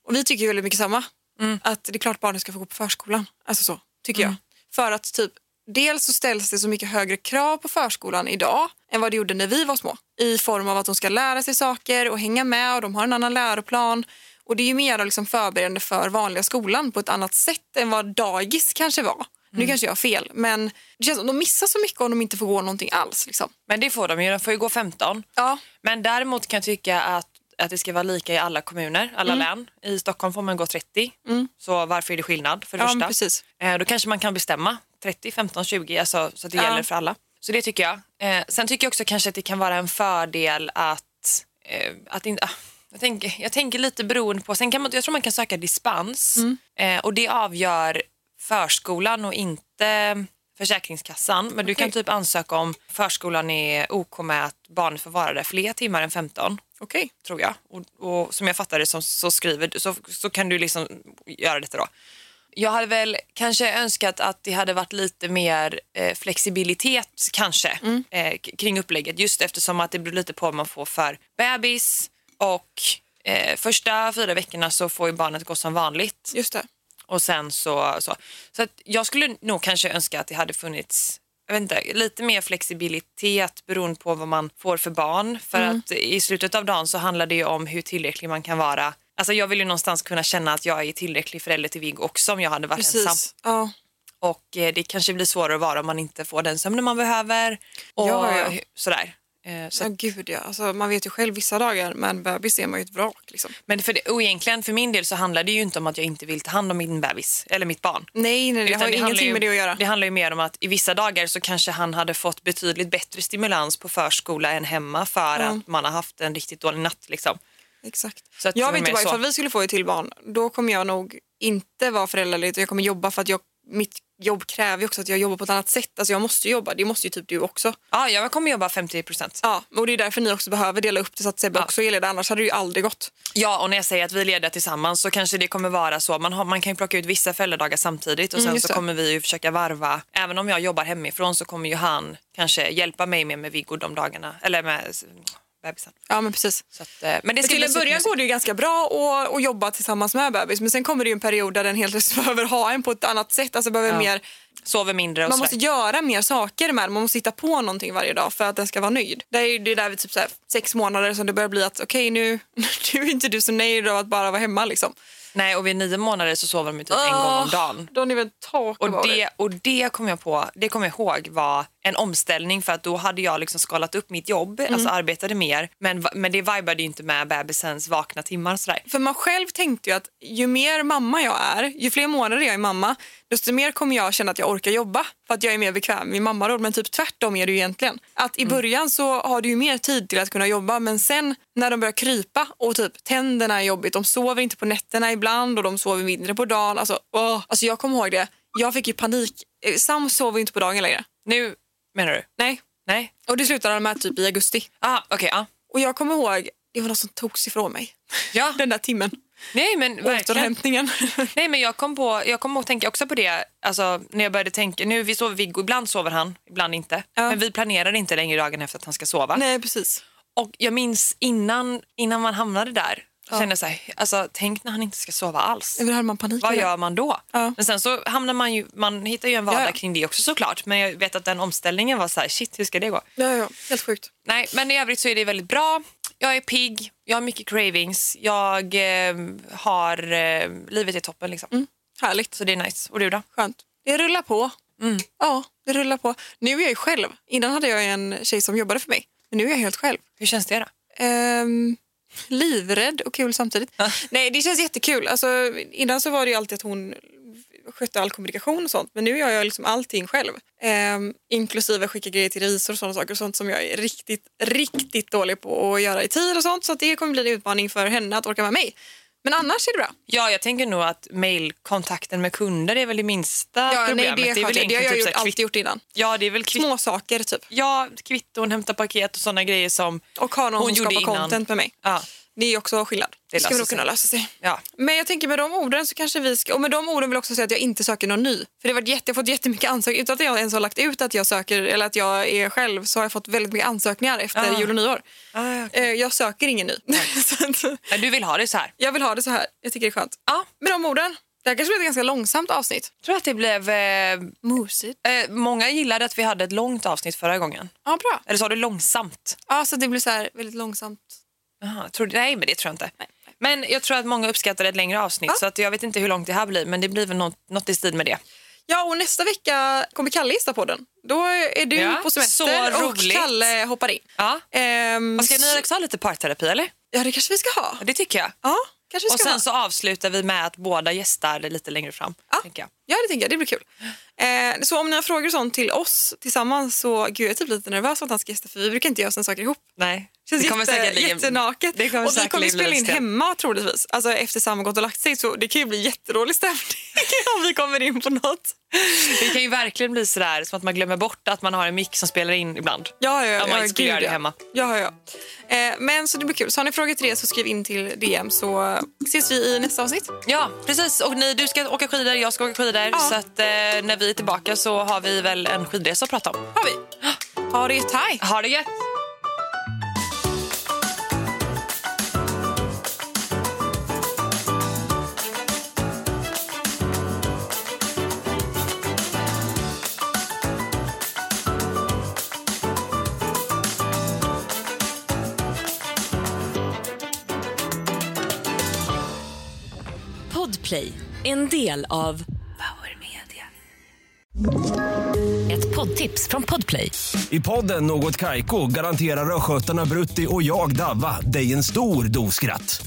[SPEAKER 3] Och vi tycker ju väldigt mycket samma. Att det är klart barnen ska få gå på förskolan. Alltså så, tycker jag. För att typ Dels så ställs det så mycket högre krav på förskolan idag än vad det gjorde när vi var små. I form av att de ska lära sig saker och hänga med och de har en annan läroplan. Och det är ju mer liksom förberedande för vanliga skolan på ett annat sätt än vad dagis kanske var. Nu kanske jag har fel, men det känns som de missar så mycket om de inte får gå någonting alls. Liksom.
[SPEAKER 2] Men det får de ju, de får ju gå 15.
[SPEAKER 3] Ja,
[SPEAKER 2] Men däremot kan jag tycka att, att det ska vara lika i alla kommuner, alla
[SPEAKER 3] Mm.
[SPEAKER 2] län. I Stockholm får man gå 30, så varför är det skillnad? för det
[SPEAKER 3] Ja, men
[SPEAKER 2] första?
[SPEAKER 3] precis.
[SPEAKER 2] Eh, då kanske man kan bestämma 30, 15, 20 alltså, så att det
[SPEAKER 3] Ja.
[SPEAKER 2] gäller för alla. Så det tycker jag. Eh, sen tycker jag också kanske att det kan vara en fördel att, eh, att inte... ah, Jag tänker, jag tänker lite beroende på, sen kan man, jag tror man kan söka dispens eh, och det avgör förskolan och inte Försäkringskassan. Men du kan typ ansöka om förskolan är OK med att barnet får vara där fler timmar än 15.
[SPEAKER 3] Okej.
[SPEAKER 2] Tror jag. Och, och som jag fattar det så, så skriver du, så, så kan du liksom göra detta då. Jag hade väl kanske önskat att det hade varit lite mer eh, flexibilitet kanske eh, k- kring upplägget. Just eftersom att det beror lite på vad man får för bebis och eh, första fyra veckorna så får ju barnet gå som vanligt.
[SPEAKER 3] Just det.
[SPEAKER 2] Och sen så... Så, så att jag skulle nog kanske önska att det hade funnits jag vet inte, lite mer flexibilitet beroende på vad man får för barn. För
[SPEAKER 3] Mm.
[SPEAKER 2] att i slutet av dagen så handlar det ju om hur tillräcklig man kan vara. Alltså jag vill ju någonstans kunna känna att jag är tillräcklig förälder till Viggo också om jag hade varit ensam.
[SPEAKER 3] Precis. Ja.
[SPEAKER 2] Och eh, det kanske blir svårare att vara om man inte får den sömnen man behöver. Och
[SPEAKER 3] Ja, ja.
[SPEAKER 2] sådär. Eh, Så
[SPEAKER 3] ja, gud ja. Alltså, man vet ju själv vissa dagar med en bebis är man ju ett vrak. Liksom.
[SPEAKER 2] men för, det, och egentligen för min del så handlar det ju inte om att jag inte vill ta hand om min bebis eller mitt barn.
[SPEAKER 3] Nej, nej, det
[SPEAKER 2] Utan
[SPEAKER 3] har ju
[SPEAKER 2] handlar
[SPEAKER 3] ingenting
[SPEAKER 2] ju-
[SPEAKER 3] med det att göra.
[SPEAKER 2] Det handlar ju mer om att i vissa dagar så kanske han hade fått betydligt bättre stimulans på förskola än hemma för att man har haft en riktigt dålig natt. Liksom.
[SPEAKER 3] Exakt.
[SPEAKER 2] Så att det
[SPEAKER 3] jag
[SPEAKER 2] var
[SPEAKER 3] vet inte
[SPEAKER 2] mer
[SPEAKER 3] vad,
[SPEAKER 2] så.
[SPEAKER 3] ifall vi skulle få ett till barn, då kommer jag nog inte vara föräldraledig utan jag kommer jobba för att jag, mitt jobb kräver ju också att jag jobbar på ett annat sätt. Alltså jag måste jobba, det måste ju typ du också.
[SPEAKER 2] Ja, jag kommer jobba 50 procent.
[SPEAKER 3] Ja, och det är därför ni också behöver dela upp det så att Sebbe
[SPEAKER 2] Ja.
[SPEAKER 3] också är ledig, annars hade det ju aldrig gått.
[SPEAKER 2] Ja, och när jag säger att vi leder tillsammans så kanske det kommer vara så. Man, har, man kan ju plocka ut vissa föräldradagar samtidigt och sen
[SPEAKER 3] Mm, just
[SPEAKER 2] så
[SPEAKER 3] det.
[SPEAKER 2] kommer vi ju försöka varva. Även om jag jobbar hemifrån så kommer ju han kanske hjälpa mig mer med Viggo de dagarna. Eller med s- bebisen.
[SPEAKER 3] Ja, men precis.
[SPEAKER 2] Så att, eh, men det
[SPEAKER 3] Men
[SPEAKER 2] ska
[SPEAKER 3] till en
[SPEAKER 2] bli
[SPEAKER 3] början går det ju ganska bra att, att jobba tillsammans med bebis men sen kommer det ju en period där den helt [LAUGHS] behöver ha en på ett annat sätt. Alltså behöver mer,
[SPEAKER 2] Sover mindre och
[SPEAKER 3] man
[SPEAKER 2] sådär.
[SPEAKER 3] måste göra mer saker med den, man måste hitta på någonting varje dag för att den ska vara nöjd. Det är ju det där vid typ så här sex månader som det börjar bli att okej nu, [LAUGHS] nu är inte du så nöjd av att bara vara hemma liksom.
[SPEAKER 2] Nej, och vid nio månader så sover de ju typ en gång om dagen.
[SPEAKER 3] Då är ni väl tak
[SPEAKER 2] Och det, och det kom jag på, det kom jag ihåg var en omställning för att då hade jag liksom skalat upp mitt jobb,
[SPEAKER 3] Mm.
[SPEAKER 2] alltså arbetade mer. Men, va- men det vibade ju inte med bebisens vakna timmar och sådär.
[SPEAKER 3] För man själv tänkte ju att ju mer mamma jag är, ju fler månader jag är mamma, desto mer kommer jag känna att jag orkar jobba för att jag är mer bekväm med mammaroll. Men typ tvärtom är det ju egentligen. Att
[SPEAKER 2] Mm.
[SPEAKER 3] i början så har du ju mer tid till att kunna jobba men sen när de börjar krypa och typ tänderna är jobbigt, de sover inte på nätterna ibland och de sover mindre på dagen. Alltså, åh. alltså jag kommer ihåg det. Jag fick ju panik. Eh, Sam sover inte på dagen längre.
[SPEAKER 2] Nu, menar du?
[SPEAKER 3] Nej.
[SPEAKER 2] Nej?
[SPEAKER 3] Och det slutade de med typ i augusti.
[SPEAKER 2] Ah, okej. ja.
[SPEAKER 3] Och jag kommer ihåg, det var något som togs ifrån mig.
[SPEAKER 2] Ja.
[SPEAKER 3] Den där timmen.
[SPEAKER 2] Nej, men verkligen.
[SPEAKER 3] Återhämtningen.
[SPEAKER 2] Nej, men jag kom, på, jag kom att tänka också på det alltså, när jag började tänka. Nu vi sover Viggo, ibland sover han, ibland inte.
[SPEAKER 3] Ja.
[SPEAKER 2] Men vi planerar inte längre dagen efter att han ska sova.
[SPEAKER 3] Nej, precis.
[SPEAKER 2] Och jag minns innan, innan man hamnade där, kände jag så här, alltså, tänk när han inte ska sova alls.
[SPEAKER 3] Men då hade man panik.
[SPEAKER 2] Vad
[SPEAKER 3] eller?
[SPEAKER 2] gör man då?
[SPEAKER 3] Ja.
[SPEAKER 2] Men sen så hamnar man ju, man hittar ju en vardag
[SPEAKER 3] Ja, ja.
[SPEAKER 2] kring det också såklart. Men jag vet att den omställningen var så här, shit hur ska det gå?
[SPEAKER 3] Ja, ja, helt sjukt.
[SPEAKER 2] Nej, men i övrigt så är det väldigt bra. Jag är pigg, jag har mycket cravings, jag eh, har, eh, livet är toppen liksom.
[SPEAKER 3] Mm, Härligt.
[SPEAKER 2] Så det är nice. Och du då?
[SPEAKER 3] Skönt. Mm. Det rullar på. Ja, det rullar på. Nu är jag ju själv. Innan hade jag ju en tjej som jobbade för mig. Men nu är jag helt själv.
[SPEAKER 2] Hur känns det då?
[SPEAKER 3] Ehm, livrädd och kul samtidigt. Nej, det känns jättekul. Alltså, innan så var det ju alltid att hon skötte all kommunikation och sånt. Men nu gör jag liksom allting själv. Ehm, inklusive skicka grejer till revisor och sådana saker. Sånt som jag är riktigt, riktigt dålig på att göra i tid och sånt. Så att det kommer bli en utmaning för henne att orka med mig. Men annars är det bra.
[SPEAKER 2] Ja, jag tänker nog att mailkontakten med kunder är väl det minsta
[SPEAKER 3] Ja, nej,
[SPEAKER 2] problemet.
[SPEAKER 3] det, är
[SPEAKER 2] väl
[SPEAKER 3] skönt. det har
[SPEAKER 2] egentligen
[SPEAKER 3] jag
[SPEAKER 2] typ
[SPEAKER 3] gjort,
[SPEAKER 2] så här kvitt-
[SPEAKER 3] alltid gjort innan.
[SPEAKER 2] Ja, det är väl kvitt-
[SPEAKER 3] Små saker typ.
[SPEAKER 2] ja, kvitton, hämta paket och sådana grejer som...
[SPEAKER 3] Och ha någon
[SPEAKER 2] Hon
[SPEAKER 3] som
[SPEAKER 2] gjorde
[SPEAKER 3] skapar
[SPEAKER 2] innan.
[SPEAKER 3] content med mig.
[SPEAKER 2] Ja,
[SPEAKER 3] Det är också skillnad.
[SPEAKER 2] Det
[SPEAKER 3] Det ska
[SPEAKER 2] löser
[SPEAKER 3] väl nog
[SPEAKER 2] sig.
[SPEAKER 3] kunna lösa sig.
[SPEAKER 2] ja.
[SPEAKER 3] Men jag tänker med de orden så kanske vi ska... Och med de orden vill jag också säga att jag inte söker någon ny. För det har varit jätte, jag har fått jättemycket ansökningar. Utan att jag ens har lagt ut att jag söker eller att jag är själv så har jag fått väldigt mycket ansökningar efter
[SPEAKER 2] Ah.
[SPEAKER 3] jul och nyår.
[SPEAKER 2] Ah, ja,
[SPEAKER 3] Eh, Jag söker ingen ny. [LAUGHS] så att,
[SPEAKER 2] Men du vill ha det så här?
[SPEAKER 3] jag vill ha det så här. Jag tycker det är skönt.
[SPEAKER 2] Ja.
[SPEAKER 3] Med de orden. Det här kanske blir ett ganska långsamt avsnitt.
[SPEAKER 2] Jag tror att det blev... Eh,
[SPEAKER 3] Mysigt.
[SPEAKER 2] eh, många gillade att vi hade ett långt avsnitt förra gången.
[SPEAKER 3] Ja, bra.
[SPEAKER 2] Eller sa du långsamt?
[SPEAKER 3] Ja, så det blir så här väldigt långsamt
[SPEAKER 2] Aha, tror, du- nej, men det tror jag inte. Men jag tror att många uppskattade ett längre avsnitt så att jag vet inte hur långt det här blir men det blir väl något, något i stil med det.
[SPEAKER 3] Ja, och nästa vecka kommer Kalle gissa på den. Då är du
[SPEAKER 2] Ja,
[SPEAKER 3] på semester
[SPEAKER 2] så
[SPEAKER 3] och
[SPEAKER 2] roligt.
[SPEAKER 3] Kalle hoppar in.
[SPEAKER 2] Ja.
[SPEAKER 3] Ehm,
[SPEAKER 2] Vad ska ni också ha lite parterapi eller?
[SPEAKER 3] Ja, det kanske vi ska ha.
[SPEAKER 2] Ja, Det tycker jag.
[SPEAKER 3] Ja, kanske vi
[SPEAKER 2] Och
[SPEAKER 3] ska
[SPEAKER 2] sen
[SPEAKER 3] ha.
[SPEAKER 2] så avslutar vi med att båda gästar lite längre fram. Tänker jag.
[SPEAKER 3] Ja, det tänker jag. Det blir kul. Eh, så om ni har frågor och sånt till oss tillsammans så gud, jag är typ lite nervös för att han ska gästa för vi brukar inte göra sådana saker ihop.
[SPEAKER 2] Nej,
[SPEAKER 3] Det känns jätte,
[SPEAKER 2] säkerligen-
[SPEAKER 3] jättenaket.
[SPEAKER 2] Det kommer
[SPEAKER 3] och vi kommer
[SPEAKER 2] säkerligen bli
[SPEAKER 3] spela in
[SPEAKER 2] lustigt.
[SPEAKER 3] hemma troligtvis, alltså efter Sam gått och lagt sig. Så det kan ju bli jättedålig stämning [LAUGHS] om vi kommer in på något.
[SPEAKER 2] Det kan ju verkligen bli sådär som att man glömmer bort att man har en mick som spelar in ibland.
[SPEAKER 3] Ja, ja, ja.
[SPEAKER 2] Om man inte skulle
[SPEAKER 3] gud,
[SPEAKER 2] göra det
[SPEAKER 3] ja.
[SPEAKER 2] hemma.
[SPEAKER 3] Ja, ja, ja. Eh, men så det blir kul. Så har ni frågor till det så skriv in till DM så eh, ses vi i nästa avsnitt.
[SPEAKER 2] Ja, precis. Och ni, du ska åka skidor, jag ska åka skidor. Så att, eh, när vi är tillbaka så har vi väl en skidresa att prata om.
[SPEAKER 3] Har vi. Ha det gött, hej!
[SPEAKER 2] Ha det gött!
[SPEAKER 1] Podplay, en del av Power Media. Ett poddtips från Podplay.
[SPEAKER 6] I podden Något Kaiko garanterar östgötarna Brutti och jag, Davva, dig en stor dos skratt.